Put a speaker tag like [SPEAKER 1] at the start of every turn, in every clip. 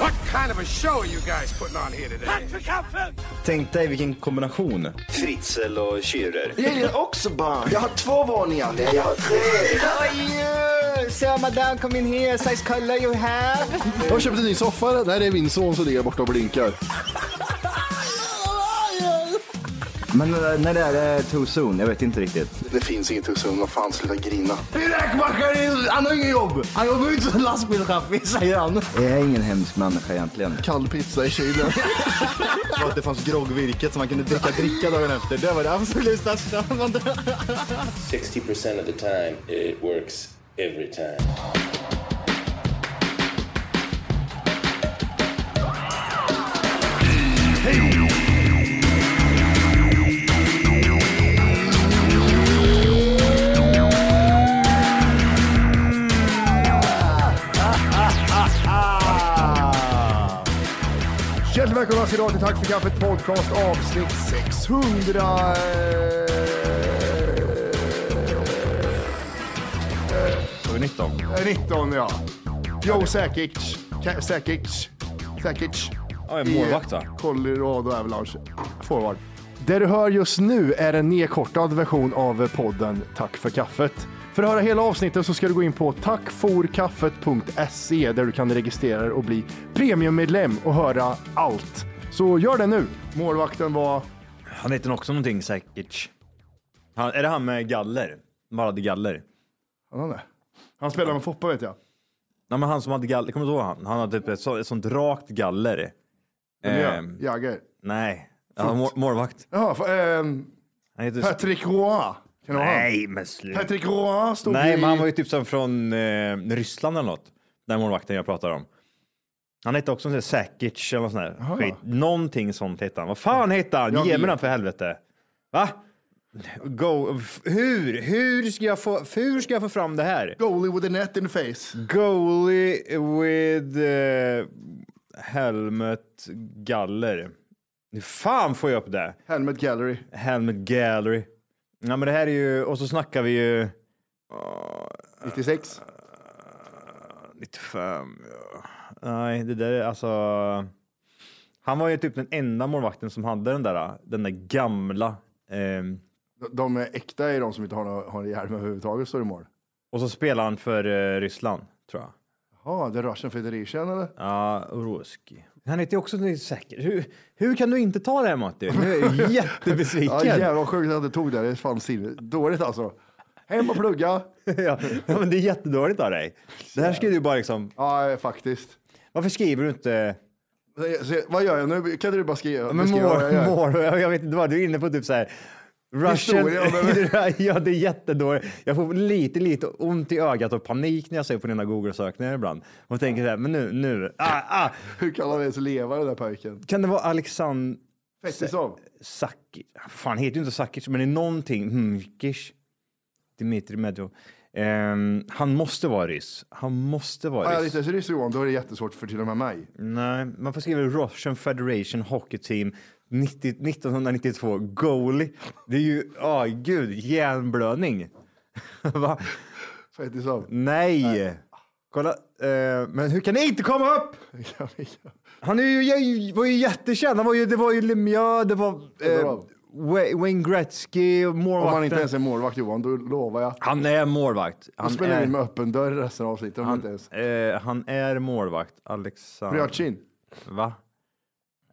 [SPEAKER 1] What kind of a show are you guys putting on here today?
[SPEAKER 2] Tänk dig vilken kombination.
[SPEAKER 3] Fritzl och Schürrer.
[SPEAKER 4] Jag gillar också barn. Jag har två eh, våningar. Nej, jag har tre.
[SPEAKER 5] So madame, come in here, size color you have.
[SPEAKER 6] Jag har köpt en ny soffa. Där är min son som ligger borta och blinkar.
[SPEAKER 2] Men eh, när det är eh, too soon? Jag vet inte riktigt.
[SPEAKER 6] Det finns inget hus Vad fan, sluta grina. Min räkmackare, han har inget jobb. Han jobbar ut som lastbilschaffis, säger han.
[SPEAKER 2] Jag är ingen hemsk människa egentligen.
[SPEAKER 6] Kall pizza i kylen.
[SPEAKER 7] Och att det fanns groggvirket som man kunde dricka dricka dagen efter. Det var det absolut största.
[SPEAKER 3] 60% of the time, it works every time.
[SPEAKER 6] Hjärtligt välkomna ska ni vara till Tack för kaffet podcast avsnitt 600.
[SPEAKER 2] Över 19.
[SPEAKER 6] 19 ja. Joe Sakic. Ka- Sakic. Sakic.
[SPEAKER 2] Ja, en målvakt, va?
[SPEAKER 6] I Colorado Avalanche. Forward. Det du hör just nu är en nedkortad version av podden Tack för kaffet. För att höra hela avsnittet så ska du gå in på tackforkaffet.se E, där du kan registrera dig och bli premiummedlem och höra allt. Så gör det nu. Målvakten var...
[SPEAKER 2] Han heter också någonting säkert. Han, är det han med galler? Som bara hade galler?
[SPEAKER 6] Han, är. han spelar med Foppa vet jag.
[SPEAKER 2] Nej men han som hade galler, kommer du ihåg han? Han hade typ ett, så, ett sånt rakt galler.
[SPEAKER 6] Ja,
[SPEAKER 2] Ehm,
[SPEAKER 6] Jagger.
[SPEAKER 2] nej, han var mål- målvakt.
[SPEAKER 6] Jaha, för, ehm,
[SPEAKER 2] Han heter...
[SPEAKER 6] Patrick Roy. Kan det vara han?
[SPEAKER 2] nej men sluta.
[SPEAKER 6] Patrick Roy stod
[SPEAKER 2] Nej
[SPEAKER 6] i...
[SPEAKER 2] men han var ju typ som från eh, Ryssland eller något. Den målvakten jag pratar om. Han hette också något Sakic eller något sånt där skit. Någonting sånt hette han. Vad fan hette han?
[SPEAKER 6] Jag
[SPEAKER 2] Ge mig
[SPEAKER 6] vet.
[SPEAKER 2] den för helvete. Va? Go. f- Hur? Hur ska jag få, hur ska jag få fram det här?
[SPEAKER 6] Goalie with a net in the face.
[SPEAKER 2] Goalie with eh, helmet galler. Hur fan får jag upp det?
[SPEAKER 6] Helmet Gallery.
[SPEAKER 2] Helmet gallery. Ja, men det här är ju, och så snackar vi ju
[SPEAKER 6] Ah, 96.
[SPEAKER 2] 95. ah, Ja. Nej, det där är alltså. Han var ju typ den enda målvakten som hade den där, den där gamla. ehm,
[SPEAKER 6] De- De är äkta är de som inte har någon, har en hjälm överhuvudtaget står i mål.
[SPEAKER 2] och så spelade han för eh, Ryssland tror jag.
[SPEAKER 6] Jaha, det är Russian Federation eller?
[SPEAKER 2] Ja, Uruski. Han heter ju också något säkert. Hur, hur kan du inte ta det här Matti? Nu är jag jättebesviken.
[SPEAKER 6] Ja, jävlar vad sjukt att det tog det. Det är fan silver. Dåligt alltså. Hem och plugga.
[SPEAKER 2] ja, ja, men det är jättedåligt av dig. Det här ska du bara liksom.
[SPEAKER 6] Ja, eh, faktiskt.
[SPEAKER 2] Varför skriver du inte?
[SPEAKER 6] Så- så- Vad gör jag nu? Kan inte du bara skriva?
[SPEAKER 2] Men
[SPEAKER 6] beskriva vad
[SPEAKER 2] mål,
[SPEAKER 6] jag gör?
[SPEAKER 2] mål, jag jag vet inte vad, du är inne på typ så här. Russian,
[SPEAKER 6] Historia, men-
[SPEAKER 2] ja det är jättedåligt. Jag får lite, lite ont i ögat och panik när jag ser på dina Google-sökningar ibland. Och tänker så här, men nu, nu, ah, ah.
[SPEAKER 6] Hur kan han ens leva den där pojken?
[SPEAKER 2] Kan det vara Alexander
[SPEAKER 6] Pettersson.
[SPEAKER 2] Sakic? Fan, han heter ju inte Sakic, men det är någonting. Hmm, Kish. Dimitri Medvedev. Ehm, han måste vara ryss. Han måste
[SPEAKER 6] Ja,
[SPEAKER 2] vara
[SPEAKER 6] jag är
[SPEAKER 2] ryss.
[SPEAKER 6] inte ens ryss Johan, då är det jättesvårt för till och med mig.
[SPEAKER 2] Nej, man får skriva Russian Federation Hockey Team 90, 1992 goalie. Det är ju, ja gud, hjärnblödning. Va?
[SPEAKER 6] Pettersson.
[SPEAKER 2] Nej. Kolla, eh, men hur kan det inte komma upp? Han är ju, jag, var ju jättekänd. Han var ju, det var ju Lemieux, det var
[SPEAKER 6] det
[SPEAKER 2] eh,
[SPEAKER 6] var-
[SPEAKER 2] Wa- Wayne Gretzky och
[SPEAKER 6] Om man
[SPEAKER 2] målvakten.
[SPEAKER 6] inte ens är målvakt Johan, då lovar jag.
[SPEAKER 2] Han är målvakt.
[SPEAKER 6] Då
[SPEAKER 2] Han
[SPEAKER 6] spelar vi
[SPEAKER 2] är,
[SPEAKER 6] med öppen dörr resten av avsnittet. om inte ens.
[SPEAKER 2] eh, han är målvakt. Alexander.
[SPEAKER 6] Prjatjin.
[SPEAKER 2] Va?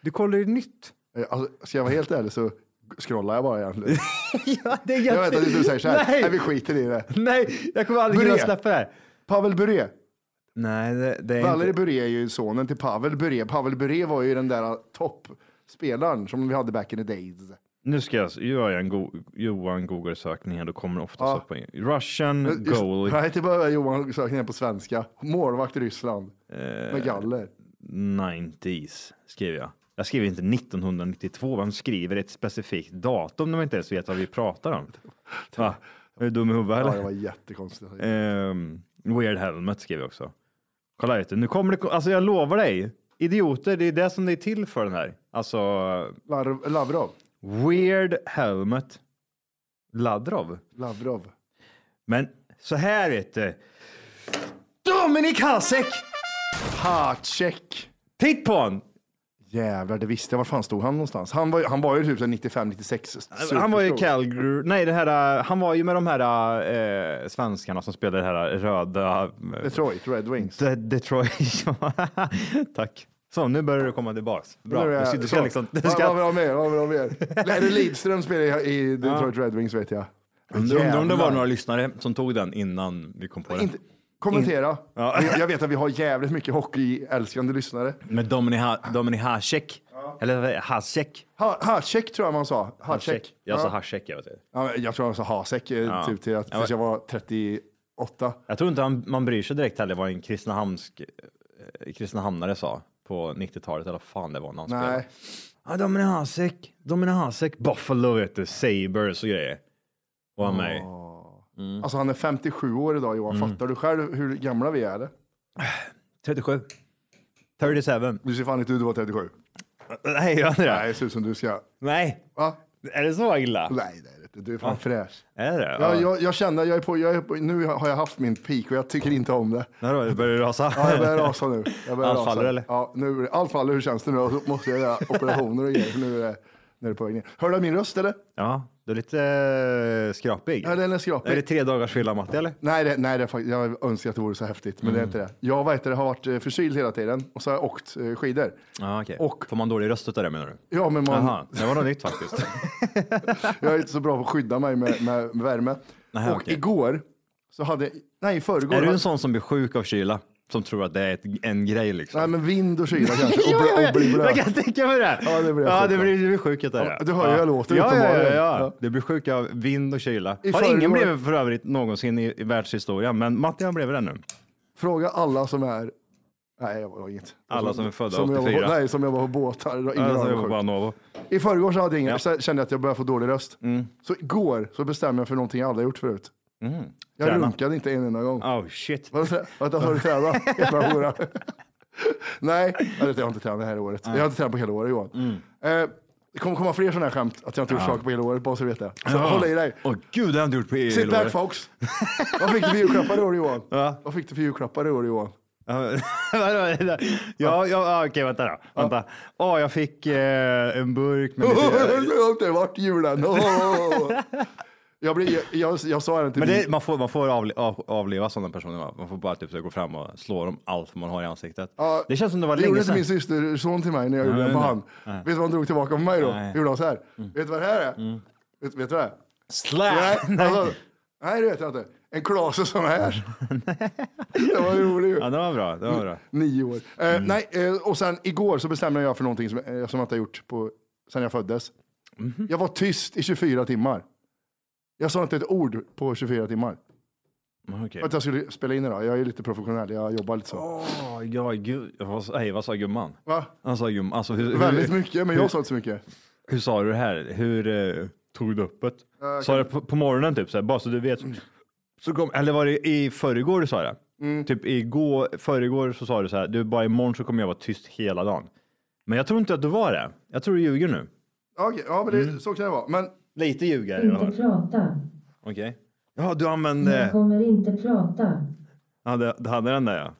[SPEAKER 2] Du kollar ju nytt.
[SPEAKER 6] Eh, Alltså, ska jag vara helt ärlig så scrollar jag bara egentligen.
[SPEAKER 2] ja, det är
[SPEAKER 6] Jag vet att du säger så här, nej.
[SPEAKER 2] Nej,
[SPEAKER 6] vi skiter i det.
[SPEAKER 2] nej jag kommer aldrig kunna
[SPEAKER 6] Börja.
[SPEAKER 2] släppa det här.
[SPEAKER 6] Pavel Bure.
[SPEAKER 2] Nej, det, det är
[SPEAKER 6] Valerie
[SPEAKER 2] inte...
[SPEAKER 6] Bure är ju sonen till Pavel Bure. Pavel Bure var ju den där ah, toppspelaren som vi hade back in the days.
[SPEAKER 2] Nu ska jag, gör jag en go- Johan Google-sökning här, då kommer det oftast
[SPEAKER 6] Ja.
[SPEAKER 2] upp en... Russian
[SPEAKER 6] Just-
[SPEAKER 2] goalie.
[SPEAKER 6] Nej, det var Johan sökningen på svenska. Målvakt i Ryssland.
[SPEAKER 2] Eh,
[SPEAKER 6] Med galler.
[SPEAKER 2] 90s skrev jag. Jag skrev inte 1992. Vem skriver ett specifikt datum när man inte ens vet vad vi pratar om? Va? Är du dum i huvudet
[SPEAKER 6] Ja,
[SPEAKER 2] eller?
[SPEAKER 6] det var jättekonstigt.
[SPEAKER 2] Ehm, Weird Helmet skrev jag också. Kolla ut det. Nu kommer det, alltså jag lovar dig. Idioter, det är det som det är till för den här. Alltså,
[SPEAKER 6] Lar- Lavrov.
[SPEAKER 2] Weird Helmet Ladrov.
[SPEAKER 6] Lavrov.
[SPEAKER 2] Men så här vet du. Dominik Hasek!
[SPEAKER 6] Hatschek.
[SPEAKER 2] Titt på honom!
[SPEAKER 6] Jävlar, det visste jag. Var fan stod han någonstans? Han var, ju- han var ju typ 95-96.
[SPEAKER 2] Han var ju i Calgary, nej det här, eh, han var ju med de här eh, svenskarna som spelade det här äh, röda... eh,
[SPEAKER 6] Detroit Red Wings.
[SPEAKER 2] De- Detroit. Tack. Så, nu börjar du komma tillbaks. Bra.
[SPEAKER 6] Nu är
[SPEAKER 2] Du ska,
[SPEAKER 6] jag-
[SPEAKER 2] du ska
[SPEAKER 6] så.
[SPEAKER 2] liksom... Du
[SPEAKER 6] Vad-
[SPEAKER 2] ska,
[SPEAKER 6] Vad vill du ha mer? Vad vill du ha mer? Larry Lidström spelar i i Detroit Red Wings vet jag.
[SPEAKER 2] Undrar undrar om det var
[SPEAKER 6] Jävlar.
[SPEAKER 2] några lyssnare som tog den innan vi kom på det.
[SPEAKER 6] Inte, kommentera.
[SPEAKER 2] Ja.
[SPEAKER 6] Jag- Jag vet att vi har jävligt mycket hockeyälskande lyssnare.
[SPEAKER 2] Med Domini, ha, Domini Hasek. Eller vad är det? Hasek.
[SPEAKER 6] Ha- Hasek tror jag man sa. Hasek.
[SPEAKER 2] Jag sa
[SPEAKER 6] Ja.
[SPEAKER 2] Hasek, jag vet inte.
[SPEAKER 6] Ja, men jag tror jag sa Hasek eh,
[SPEAKER 2] Ja.
[SPEAKER 6] typ till att tills jag var 38.
[SPEAKER 2] Jag tror inte han, man bryr sig direkt heller vad en Kristinehamnsk, eh, Kristinehamnare sa på 90-talet eller vad fan det var när han spelade.
[SPEAKER 6] Nej.
[SPEAKER 2] Ja, Domini Hasek, Domini Hasek, Buffalo vet du, Sabres och grejer. Var han med i.
[SPEAKER 6] Alltså han är 57 år idag Johan.
[SPEAKER 2] Mm.
[SPEAKER 6] Fattar du själv hur gamla vi är? eller?
[SPEAKER 2] 37. 37.
[SPEAKER 6] Du ser fan inte ut att vara 37.
[SPEAKER 2] Nej, gör han
[SPEAKER 6] Nej,
[SPEAKER 2] det?
[SPEAKER 6] det ser ut som du ska...
[SPEAKER 2] Nej.
[SPEAKER 6] Va?
[SPEAKER 2] Är det så illa?
[SPEAKER 6] Nej, det är det inte. Du är fan fräsch.
[SPEAKER 2] Är det?
[SPEAKER 6] Ja, jag, jag känner, jag är på, jag är på, nu har jag haft min peak och jag tycker inte om det.
[SPEAKER 2] När då? Börjar du rasa?
[SPEAKER 6] Ja, jag börjar rasa nu. Jag börjar
[SPEAKER 2] Allt
[SPEAKER 6] rasa.
[SPEAKER 2] faller, eller?
[SPEAKER 6] Ja, nu, allt faller. Hur känns det nu? Och så måste jag göra operationer och grejer. för Nu är det, nu är det på väg ner. Hör du min röst eller?
[SPEAKER 2] Ja, du är lite eh, skrapig.
[SPEAKER 6] Ja, den är skrapig.
[SPEAKER 2] Är det tre dagars fylla Matti eller?
[SPEAKER 6] Nej, det, nej det, är fakt- jag önskar att det vore så häftigt, men
[SPEAKER 2] Mm.
[SPEAKER 6] det är inte det. Jag vet, det har varit eh, förkyld hela tiden och så har jag åkt eh, skidor.
[SPEAKER 2] Ja, okej.
[SPEAKER 6] Och-
[SPEAKER 2] Får man dålig röst utav det menar du?
[SPEAKER 6] Ja, men man,
[SPEAKER 2] Jaha, det var något nytt faktiskt.
[SPEAKER 6] jag är inte så bra på att skydda mig med, med värme.
[SPEAKER 2] Nähä,
[SPEAKER 6] och
[SPEAKER 2] okej.
[SPEAKER 6] igår så hade, nej i förrgår.
[SPEAKER 2] är du
[SPEAKER 6] hade-
[SPEAKER 2] en sån som blir sjuk av kyla? Som tror att det är ett, en grej liksom?
[SPEAKER 6] Nej, men vind och kyla kanske och, bl- och bli blöt.
[SPEAKER 2] Jag kan tänka mig det.
[SPEAKER 6] Ja, det blir jag
[SPEAKER 2] ja,
[SPEAKER 6] sjuk
[SPEAKER 2] det
[SPEAKER 6] av.
[SPEAKER 2] blir, det blir sjuk utav
[SPEAKER 6] Ja,
[SPEAKER 2] det.
[SPEAKER 6] du hör ju
[SPEAKER 2] ja.
[SPEAKER 6] jag låter
[SPEAKER 2] ja, ja, ja,
[SPEAKER 6] uppenbarligen.
[SPEAKER 2] ja.
[SPEAKER 6] Ja.
[SPEAKER 2] Det blir sjuk av vind och kyla.
[SPEAKER 6] I
[SPEAKER 2] Har ingen
[SPEAKER 6] förrgår-
[SPEAKER 2] blivit för övrigt någonsin i, i världshistorien, men Matti har blivit det nu.
[SPEAKER 6] Fråga alla som är... Nej, jag var inget.
[SPEAKER 2] Alla som är födda
[SPEAKER 6] som jag
[SPEAKER 2] 84.
[SPEAKER 6] var, Nej, som jag var på båtar. Det var ingen
[SPEAKER 2] Alltså,
[SPEAKER 6] aning
[SPEAKER 2] jag
[SPEAKER 6] sjukt.
[SPEAKER 2] var bara Novo.
[SPEAKER 6] I förrgår så hade jag ingen,
[SPEAKER 2] Ja. Mm.
[SPEAKER 6] så kände jag att jag började få dålig röst. Så igår så bestämde jag för någonting jag aldrig gjort förut. Jag
[SPEAKER 2] Träna.
[SPEAKER 6] runkade inte en enda gång.
[SPEAKER 2] Oh shit.
[SPEAKER 6] Vad sa- Vänta, har du tränat? Jävla hora. Nej, jag vet, jag har inte tränat det här året. Jag har inte tränat på hela året Johan.
[SPEAKER 2] Mm.
[SPEAKER 6] Eh, det kommer komma fler sådana här skämt, att jag inte gjort saker på hela året, bara så du vet det. Så håll i dig.
[SPEAKER 2] Åh gud, det har jag inte gjort på EU.
[SPEAKER 6] Sit back folks. Vad fick du för julklappar i år Johan? Vad fick du för julklappar i år Johan?
[SPEAKER 2] Ja, ja, ja, ja, okej, vänta då. Vänta. Åh, jag fick eh, en burk med lite...
[SPEAKER 6] Det har inte varit jul än. Åh. Jag, blir, jag, jag, jag sa det till
[SPEAKER 2] Men
[SPEAKER 6] min-
[SPEAKER 2] det, man får, man får avli, av, avliva sådana personer, va? Man får bara typ så gå fram och slå dem allt man har i ansiktet.
[SPEAKER 6] Ja,
[SPEAKER 2] det känns som det var
[SPEAKER 6] Det gjorde
[SPEAKER 2] länge
[SPEAKER 6] inte
[SPEAKER 2] sedan.
[SPEAKER 6] min systerson till mig när jag gjorde den på
[SPEAKER 2] nej.
[SPEAKER 6] han. Vet du vad han drog tillbaka på mig då?
[SPEAKER 2] Nej. Mm.
[SPEAKER 6] Gjorde han så här. Vet du vad det här är? Vet, vet du vad det är?
[SPEAKER 2] Slap!
[SPEAKER 6] Nej, alltså, nej, det vet jag inte. En klase sån här. det var roligt ju.
[SPEAKER 2] Ja, Mm. det var bra. Det var bra.
[SPEAKER 6] Nio år. Eh, Nej, eh, och sen igår så bestämde jag för någonting som, eh, som jag inte har gjort på, sen jag föddes.
[SPEAKER 2] Mhm.
[SPEAKER 6] Jag var tyst i 24 timmar. Jag sa inte ett ord på 24 timmar.
[SPEAKER 2] Mm. Okej.
[SPEAKER 6] Att jag skulle spela in idag. Jag är lite professionell. Jag jobbar lite så.
[SPEAKER 2] Åh, ja, gud. Vad, sa- hej, vad sa gumman?
[SPEAKER 6] Va?
[SPEAKER 2] Han sa gumman. Alltså, hur,
[SPEAKER 6] Väldigt
[SPEAKER 2] hur,
[SPEAKER 6] mycket, men jag sa inte så mycket.
[SPEAKER 2] hur sa du det här? Hur eh, tog du upp det? sa du på, på morgonen typ så här, bara så du vet. Så kom, eller var det i förrgår du sa det?
[SPEAKER 6] Mm.
[SPEAKER 2] Typ igår, förrgår så sa du så här, du bara imorgon så kommer jag vara tyst hela dagen. Men jag tror inte att du var det. Jag tror du ljuger nu.
[SPEAKER 6] Ja, okej. ja men det,
[SPEAKER 2] Mm.
[SPEAKER 6] så kan det vara. Men
[SPEAKER 2] Lite ljuger jag. Okej.
[SPEAKER 8] prata.
[SPEAKER 2] Ja, du använde,
[SPEAKER 8] kommer inte prata.
[SPEAKER 2] hade, hade den där ja.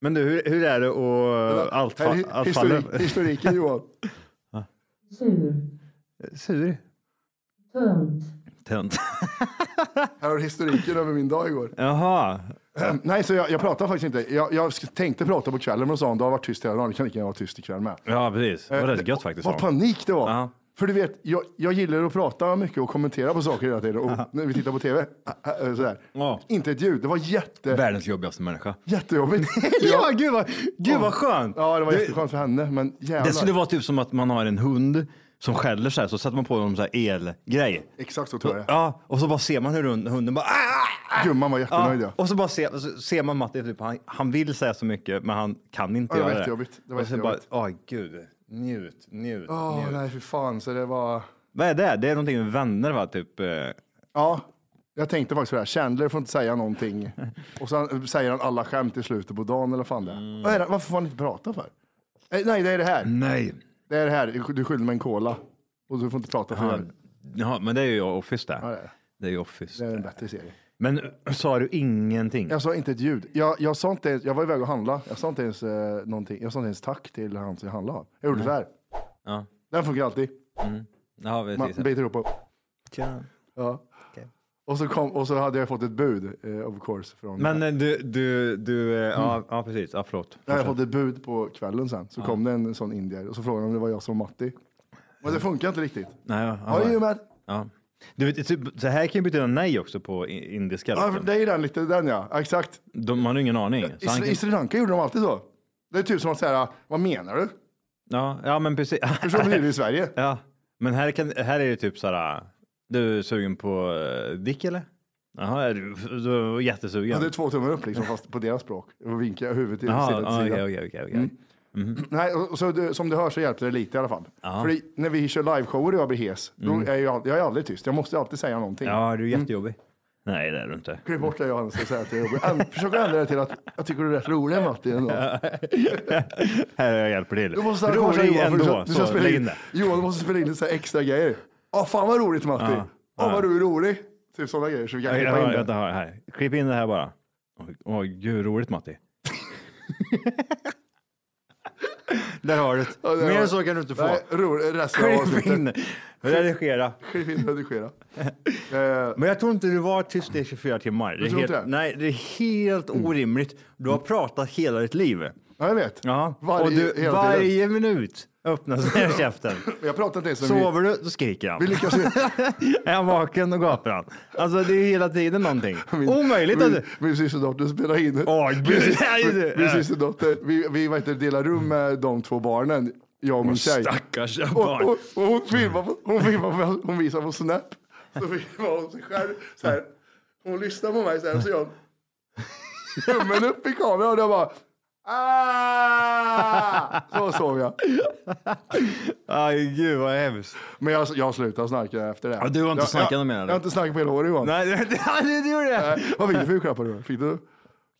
[SPEAKER 2] Men du, hur, hur är det att allt,
[SPEAKER 6] Här är hi-
[SPEAKER 2] allt
[SPEAKER 6] histori-
[SPEAKER 2] faller?
[SPEAKER 6] historiken Johan.
[SPEAKER 8] Sur.
[SPEAKER 2] Sur.
[SPEAKER 8] Tunt.
[SPEAKER 2] Tönt.
[SPEAKER 6] Här har du historiken över min dag igår.
[SPEAKER 2] Jaha.
[SPEAKER 6] Ehm, Nej, så jag, jag pratar faktiskt inte. Jag, jag sk- tänkte prata på kvällen, men då sa hon, du har varit tyst hela dagen, du kan lika gärna vara tyst ikväll med.
[SPEAKER 2] Ja, precis. Det var
[SPEAKER 6] Eh,
[SPEAKER 2] rätt gött faktiskt.
[SPEAKER 6] Vad
[SPEAKER 2] sa de.
[SPEAKER 6] panik det var.
[SPEAKER 2] Ja.
[SPEAKER 6] För du vet, jag, jag gillar att prata mycket och kommentera på saker hela tiden. Och när vi tittar på tv, ah, ah, eh, sådär. Inte ett ljud. Det var jätte,
[SPEAKER 2] Världens jobbigaste människa.
[SPEAKER 6] jättejobbigt.
[SPEAKER 2] ja, gud vad, gud vad skönt.
[SPEAKER 6] Ja, det var
[SPEAKER 2] Du-
[SPEAKER 6] jätteskönt för henne, men jävlar.
[SPEAKER 2] Det skulle vara typ som att man har en hund som skäller så här, så sätter man på honom så här elgrej.
[SPEAKER 6] Exakt så tror jag det.
[SPEAKER 2] Ja, och så bara ser man hur hund- hunden bara... "Ah!"
[SPEAKER 6] Gumman var jättenöjd, ja.
[SPEAKER 2] Och så bara ser, så ser man Matti, typ, han, han vill säga så mycket, men han kan inte
[SPEAKER 6] Ja, det var
[SPEAKER 2] göra det.
[SPEAKER 6] jättejobbigt. Det var
[SPEAKER 2] och så bara,
[SPEAKER 6] jättejobbigt.
[SPEAKER 2] åh gud, njut, njut,
[SPEAKER 6] Åh,
[SPEAKER 2] njut.
[SPEAKER 6] nej, för fan. Så det var...
[SPEAKER 2] Vad är det? Det är någonting med vänner va, typ? eh,
[SPEAKER 6] Ja, jag tänkte faktiskt på det här. Chandler får inte säga någonting. Och sen säger han alla skämt i slutet på dagen eller fan det är.
[SPEAKER 2] Mm.
[SPEAKER 6] Vad är det? Varför får han inte prata för? Eh, Nej, det är det här.
[SPEAKER 2] Nej.
[SPEAKER 6] Det är det här. Du skyllde mig en cola. Och du får inte prata för
[SPEAKER 2] Ja,
[SPEAKER 6] det.
[SPEAKER 2] ja, men det är ju Office där.
[SPEAKER 6] Ja, det är.
[SPEAKER 2] Det är ju Office.
[SPEAKER 6] Det är en bättre serie.
[SPEAKER 2] Men eh, sa du ingenting?
[SPEAKER 6] Jag sa inte ett ljud. Jag, jag, sa inte, ens- jag var iväg och handla. Jag sa inte ens eh, någonting. Jag sa inte ens tack till han som jag handlade av. Jag gjorde så här.
[SPEAKER 2] Ja.
[SPEAKER 6] Den funkar alltid.
[SPEAKER 2] Ja,
[SPEAKER 6] Man
[SPEAKER 2] precis.
[SPEAKER 6] biter ihop och...
[SPEAKER 2] Tja.
[SPEAKER 6] Ja. Och, så kom, och så hade jag fått ett bud, eh, of course. Från,
[SPEAKER 2] Men eh, du, du, du, eh,
[SPEAKER 6] Mm.
[SPEAKER 2] ja, ja precis, ja, förlåt.
[SPEAKER 6] Jag hade fått ett bud på kvällen sen. Så kom det en sån indier och så frågade de om det var jag som var Matti. Men det funkar inte riktigt.
[SPEAKER 2] Nej, ja, ja,
[SPEAKER 6] Are you Matt?
[SPEAKER 2] ja. Du vet, typ, så här kan ju betyda nej också på i- indiska.
[SPEAKER 6] Ja,
[SPEAKER 2] liksom.
[SPEAKER 6] det är ju den lite, den ja. Ja, Exakt.
[SPEAKER 2] De, man har ju ingen aning.
[SPEAKER 6] I,
[SPEAKER 2] Så han
[SPEAKER 6] Sri- I
[SPEAKER 2] kan,
[SPEAKER 6] Sri Lanka gjorde de alltid så. Det är typ som att säga, vad menar du?
[SPEAKER 2] ja, ja, men precis.
[SPEAKER 6] För så blir det i Sverige.
[SPEAKER 2] ja. Men här, kan, här är det typ så här, du är sugen på eh, dick eller? Jaha, är du, du är jättesugen.
[SPEAKER 6] Ja, det är två tummar upp liksom, fast på deras språk. Och vinka huvudet till Mm.
[SPEAKER 2] Jaha,
[SPEAKER 6] sidan
[SPEAKER 2] ja,
[SPEAKER 6] till
[SPEAKER 2] okej,
[SPEAKER 6] sidan.
[SPEAKER 2] okej, okej, okej.
[SPEAKER 6] Nej, och och så du, som du hör så hjälpte det lite i alla fall. För det, när vi kör liveshower och jag blir hes, då är jag, jag är aldrig tyst. Jag måste alltid säga någonting.
[SPEAKER 2] Mm. Ja, du är
[SPEAKER 6] Mm.
[SPEAKER 2] jättejobbig. Nej, det är du inte.
[SPEAKER 6] Klipp bort det Johannes och säg att jag är jobbig. Änd- Försök att ändra det till att jag tycker du är rätt rolig Matti ändå.
[SPEAKER 2] här är jag hjälper till.
[SPEAKER 6] Du måste korsa
[SPEAKER 2] Rolig
[SPEAKER 6] Johan för
[SPEAKER 2] ändå.
[SPEAKER 6] du ska, du ska
[SPEAKER 2] Så,
[SPEAKER 6] spela
[SPEAKER 2] lägg in
[SPEAKER 6] in,
[SPEAKER 2] det.
[SPEAKER 6] Johan du måste spela in lite så här extra grejer. Ja, fan vad roligt Matti. Ja, vad du är rolig. Typ sådana grejer så vi kan
[SPEAKER 2] Jag
[SPEAKER 6] klippa in
[SPEAKER 2] har,
[SPEAKER 6] det.
[SPEAKER 2] vänta, har, här. Klipp in det här bara. Åh, Åh, gud, roligt Matti. Där har du
[SPEAKER 6] Ja, det
[SPEAKER 2] det. Mer
[SPEAKER 6] var-
[SPEAKER 2] så kan du inte få.
[SPEAKER 6] Nej, roligt. Resten av
[SPEAKER 2] Klipp in.
[SPEAKER 6] avsnittet.
[SPEAKER 2] Redigera.
[SPEAKER 6] Klipp in och redigera. Eh,
[SPEAKER 2] Men jag tror inte du var tyst i 24 timmar. Det är
[SPEAKER 6] tror
[SPEAKER 2] helt,
[SPEAKER 6] inte det? Mm.
[SPEAKER 2] nej, det är helt orimligt. Du har pratat hela ditt liv.
[SPEAKER 6] Ja, jag vet.
[SPEAKER 2] Ja.
[SPEAKER 6] Varje,
[SPEAKER 2] och du,
[SPEAKER 6] hela tiden.
[SPEAKER 2] varje minut öppnas den här käften.
[SPEAKER 6] Men Jag pratar inte ens om vi,
[SPEAKER 2] Sover du, då skriker han.
[SPEAKER 6] vi lyckas ju.
[SPEAKER 2] Är han vaken, då gapar han. Alltså, det är hela tiden någonting. Omöjligt. att
[SPEAKER 6] Min, min systerdotter spelar in.
[SPEAKER 2] Åh, gud.
[SPEAKER 6] Min, sy-
[SPEAKER 2] Nej,
[SPEAKER 6] min,
[SPEAKER 2] du.
[SPEAKER 6] min systerdotter, vi, vi vad heter det, delar rum med de två barnen, jag och min tjej.
[SPEAKER 2] Stackars
[SPEAKER 6] Och,
[SPEAKER 2] barn.
[SPEAKER 6] och, och hon filmar, på, hon, filmar på, hon visar på Snap. Så filmar hon sig själv. Så här. Hon lyssnar på mig så här och så gör hon tummen upp i kameran och jag bara Ah! Så sov jag.
[SPEAKER 2] Aj, gud vad hemskt.
[SPEAKER 6] Men jag, jag slutade snarka efter det.
[SPEAKER 2] Ja, du har inte
[SPEAKER 6] Jag-
[SPEAKER 2] snarkat
[SPEAKER 6] jag-
[SPEAKER 2] mer, eller?
[SPEAKER 6] Jag har inte snarkat på hela året Johan.
[SPEAKER 2] Nej, det, det, det, det gjorde jag.
[SPEAKER 6] Nej. Vad fick du för julklappar Johan? Fick du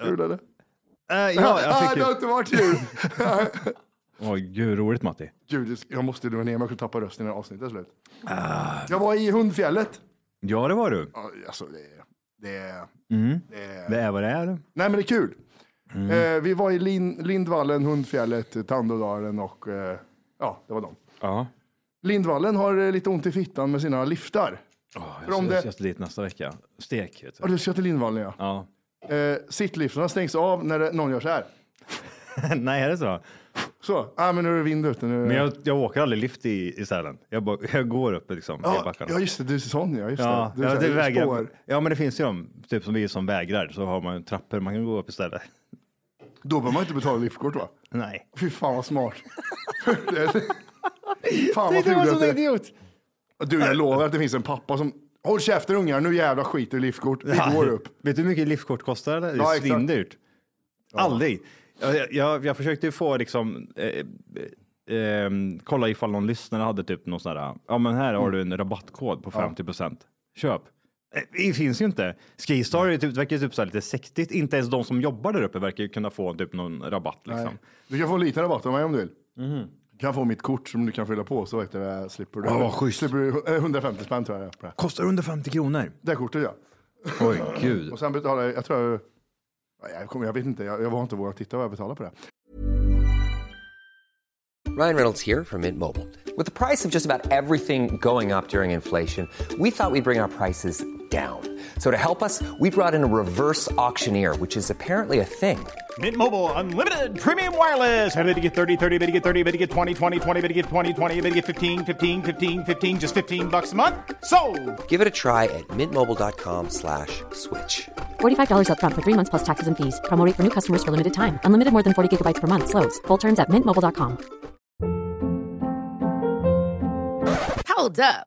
[SPEAKER 6] jul eller?
[SPEAKER 2] Äh, ja, jag
[SPEAKER 6] ah,
[SPEAKER 2] fick
[SPEAKER 6] det har
[SPEAKER 2] ju...
[SPEAKER 6] inte varit jul.
[SPEAKER 2] Åh, gud, roligt Matti.
[SPEAKER 6] Gud, jag måste lugna ner mig. Jag kunde tappa rösten när avsnittet är slut.
[SPEAKER 2] Ah.
[SPEAKER 6] Jag var i Hundfjället.
[SPEAKER 2] Ja, det var du.
[SPEAKER 6] Ja, Alltså, det, det, det är
[SPEAKER 2] Det är vad det är.
[SPEAKER 6] Nej, men det är kul.
[SPEAKER 2] Mm.
[SPEAKER 6] Eh, vi var i Lin Lindvallen, Hundfjället, Tandådalen och eh, ja, det var dem.
[SPEAKER 2] Ja.
[SPEAKER 6] Lindvallen har eh, lite ont i fittan med sina liftar.
[SPEAKER 2] Jag
[SPEAKER 6] För om
[SPEAKER 2] ska,
[SPEAKER 6] det-
[SPEAKER 2] jag ska dit nästa vecka. Stek. Vet
[SPEAKER 6] Ja,
[SPEAKER 2] du.
[SPEAKER 6] du ska till Lindvallen ja.
[SPEAKER 2] Ja.
[SPEAKER 6] Eh, sittliftarna stängs av när det, någon gör så här.
[SPEAKER 2] Nej, är det så?
[SPEAKER 6] Så, ah, men nu är det vind ute. Nu är det...
[SPEAKER 2] Men jag, jag åker aldrig lift i, i Sälen. Jag, bara, jag går upp liksom, i
[SPEAKER 6] ja,
[SPEAKER 2] backarna.
[SPEAKER 6] ja, just det, du är sån ja. Just
[SPEAKER 2] Ja,
[SPEAKER 6] det. Du är
[SPEAKER 2] ja,
[SPEAKER 6] så
[SPEAKER 2] det
[SPEAKER 6] här,
[SPEAKER 2] vägrar,
[SPEAKER 6] spår.
[SPEAKER 2] ja, men det finns ju de, typ som vi som vägrar, så har man ju trappor man kan gå upp istället.
[SPEAKER 6] Då behöver man inte betala liftkort va?
[SPEAKER 2] Nej.
[SPEAKER 6] Fy fan vad smart. fan vad ful du är.
[SPEAKER 2] idiot.
[SPEAKER 6] Du, jag lovar att det finns en pappa som, håll käften ungar, nu jävla skiter du i liftkort. Vi går upp.
[SPEAKER 2] Vet du hur mycket liftkort kostar? Eller? Det är
[SPEAKER 6] Ja, exakt.
[SPEAKER 2] svindyrt. Aldrig. Jag, jag, jag försökte ju få liksom, eh, eh, eh, kolla ifall någon lyssnare hade typ någon sån här, ja men här har du en rabattkod på 50 procent. Köp. Eh, Det finns ju inte. Skistar är typ, verkar ju typ så här lite sektigt. Inte ens de som jobbar där uppe verkar ju kunna få typ någon rabatt liksom. Mhm.
[SPEAKER 6] Du kan få en liten rabatt av mig om du vill. Du kan få mitt kort som du kan fylla på så vet du, det, slipper du.
[SPEAKER 2] Ja, vad schysst.
[SPEAKER 6] Slipper du eh, 150 spänn tror jag det är på det.
[SPEAKER 2] Kostar under 50 kronor.
[SPEAKER 6] Det kortet ja.
[SPEAKER 2] Oj gud.
[SPEAKER 6] Och sen betalar jag, jag tror jag, Nej, Jag, kommer, jag vet inte, jag, jag har inte vågat titta vad jag betalar på det.
[SPEAKER 9] Ryan Reynolds here from Mint Mobile. With the price of just about everything going up during inflation, we thought we'd bring our prices down. So to help us, we brought in a reverse auctioneer, which is apparently a thing.
[SPEAKER 10] Mint Mobile unlimited premium wireless. Ready to get 30, 30, bet you get 30, bet you get 20, 20, 20, bet you get 20, 20, bet you get 15, 15, 15, 15 just 15 bucks a month. So,
[SPEAKER 9] Give it a try at mintmobile.com slash switch.
[SPEAKER 11] $45 upfront for three months plus taxes and fees. Promo rate for new customers for limited time. Unlimited more than 40 gigabytes per month. Slows. Full terms at mintmobile.com.
[SPEAKER 12] Hold up.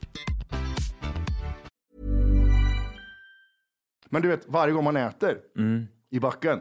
[SPEAKER 6] Men du vet, varje gång man äter
[SPEAKER 2] Mm.
[SPEAKER 6] i backen,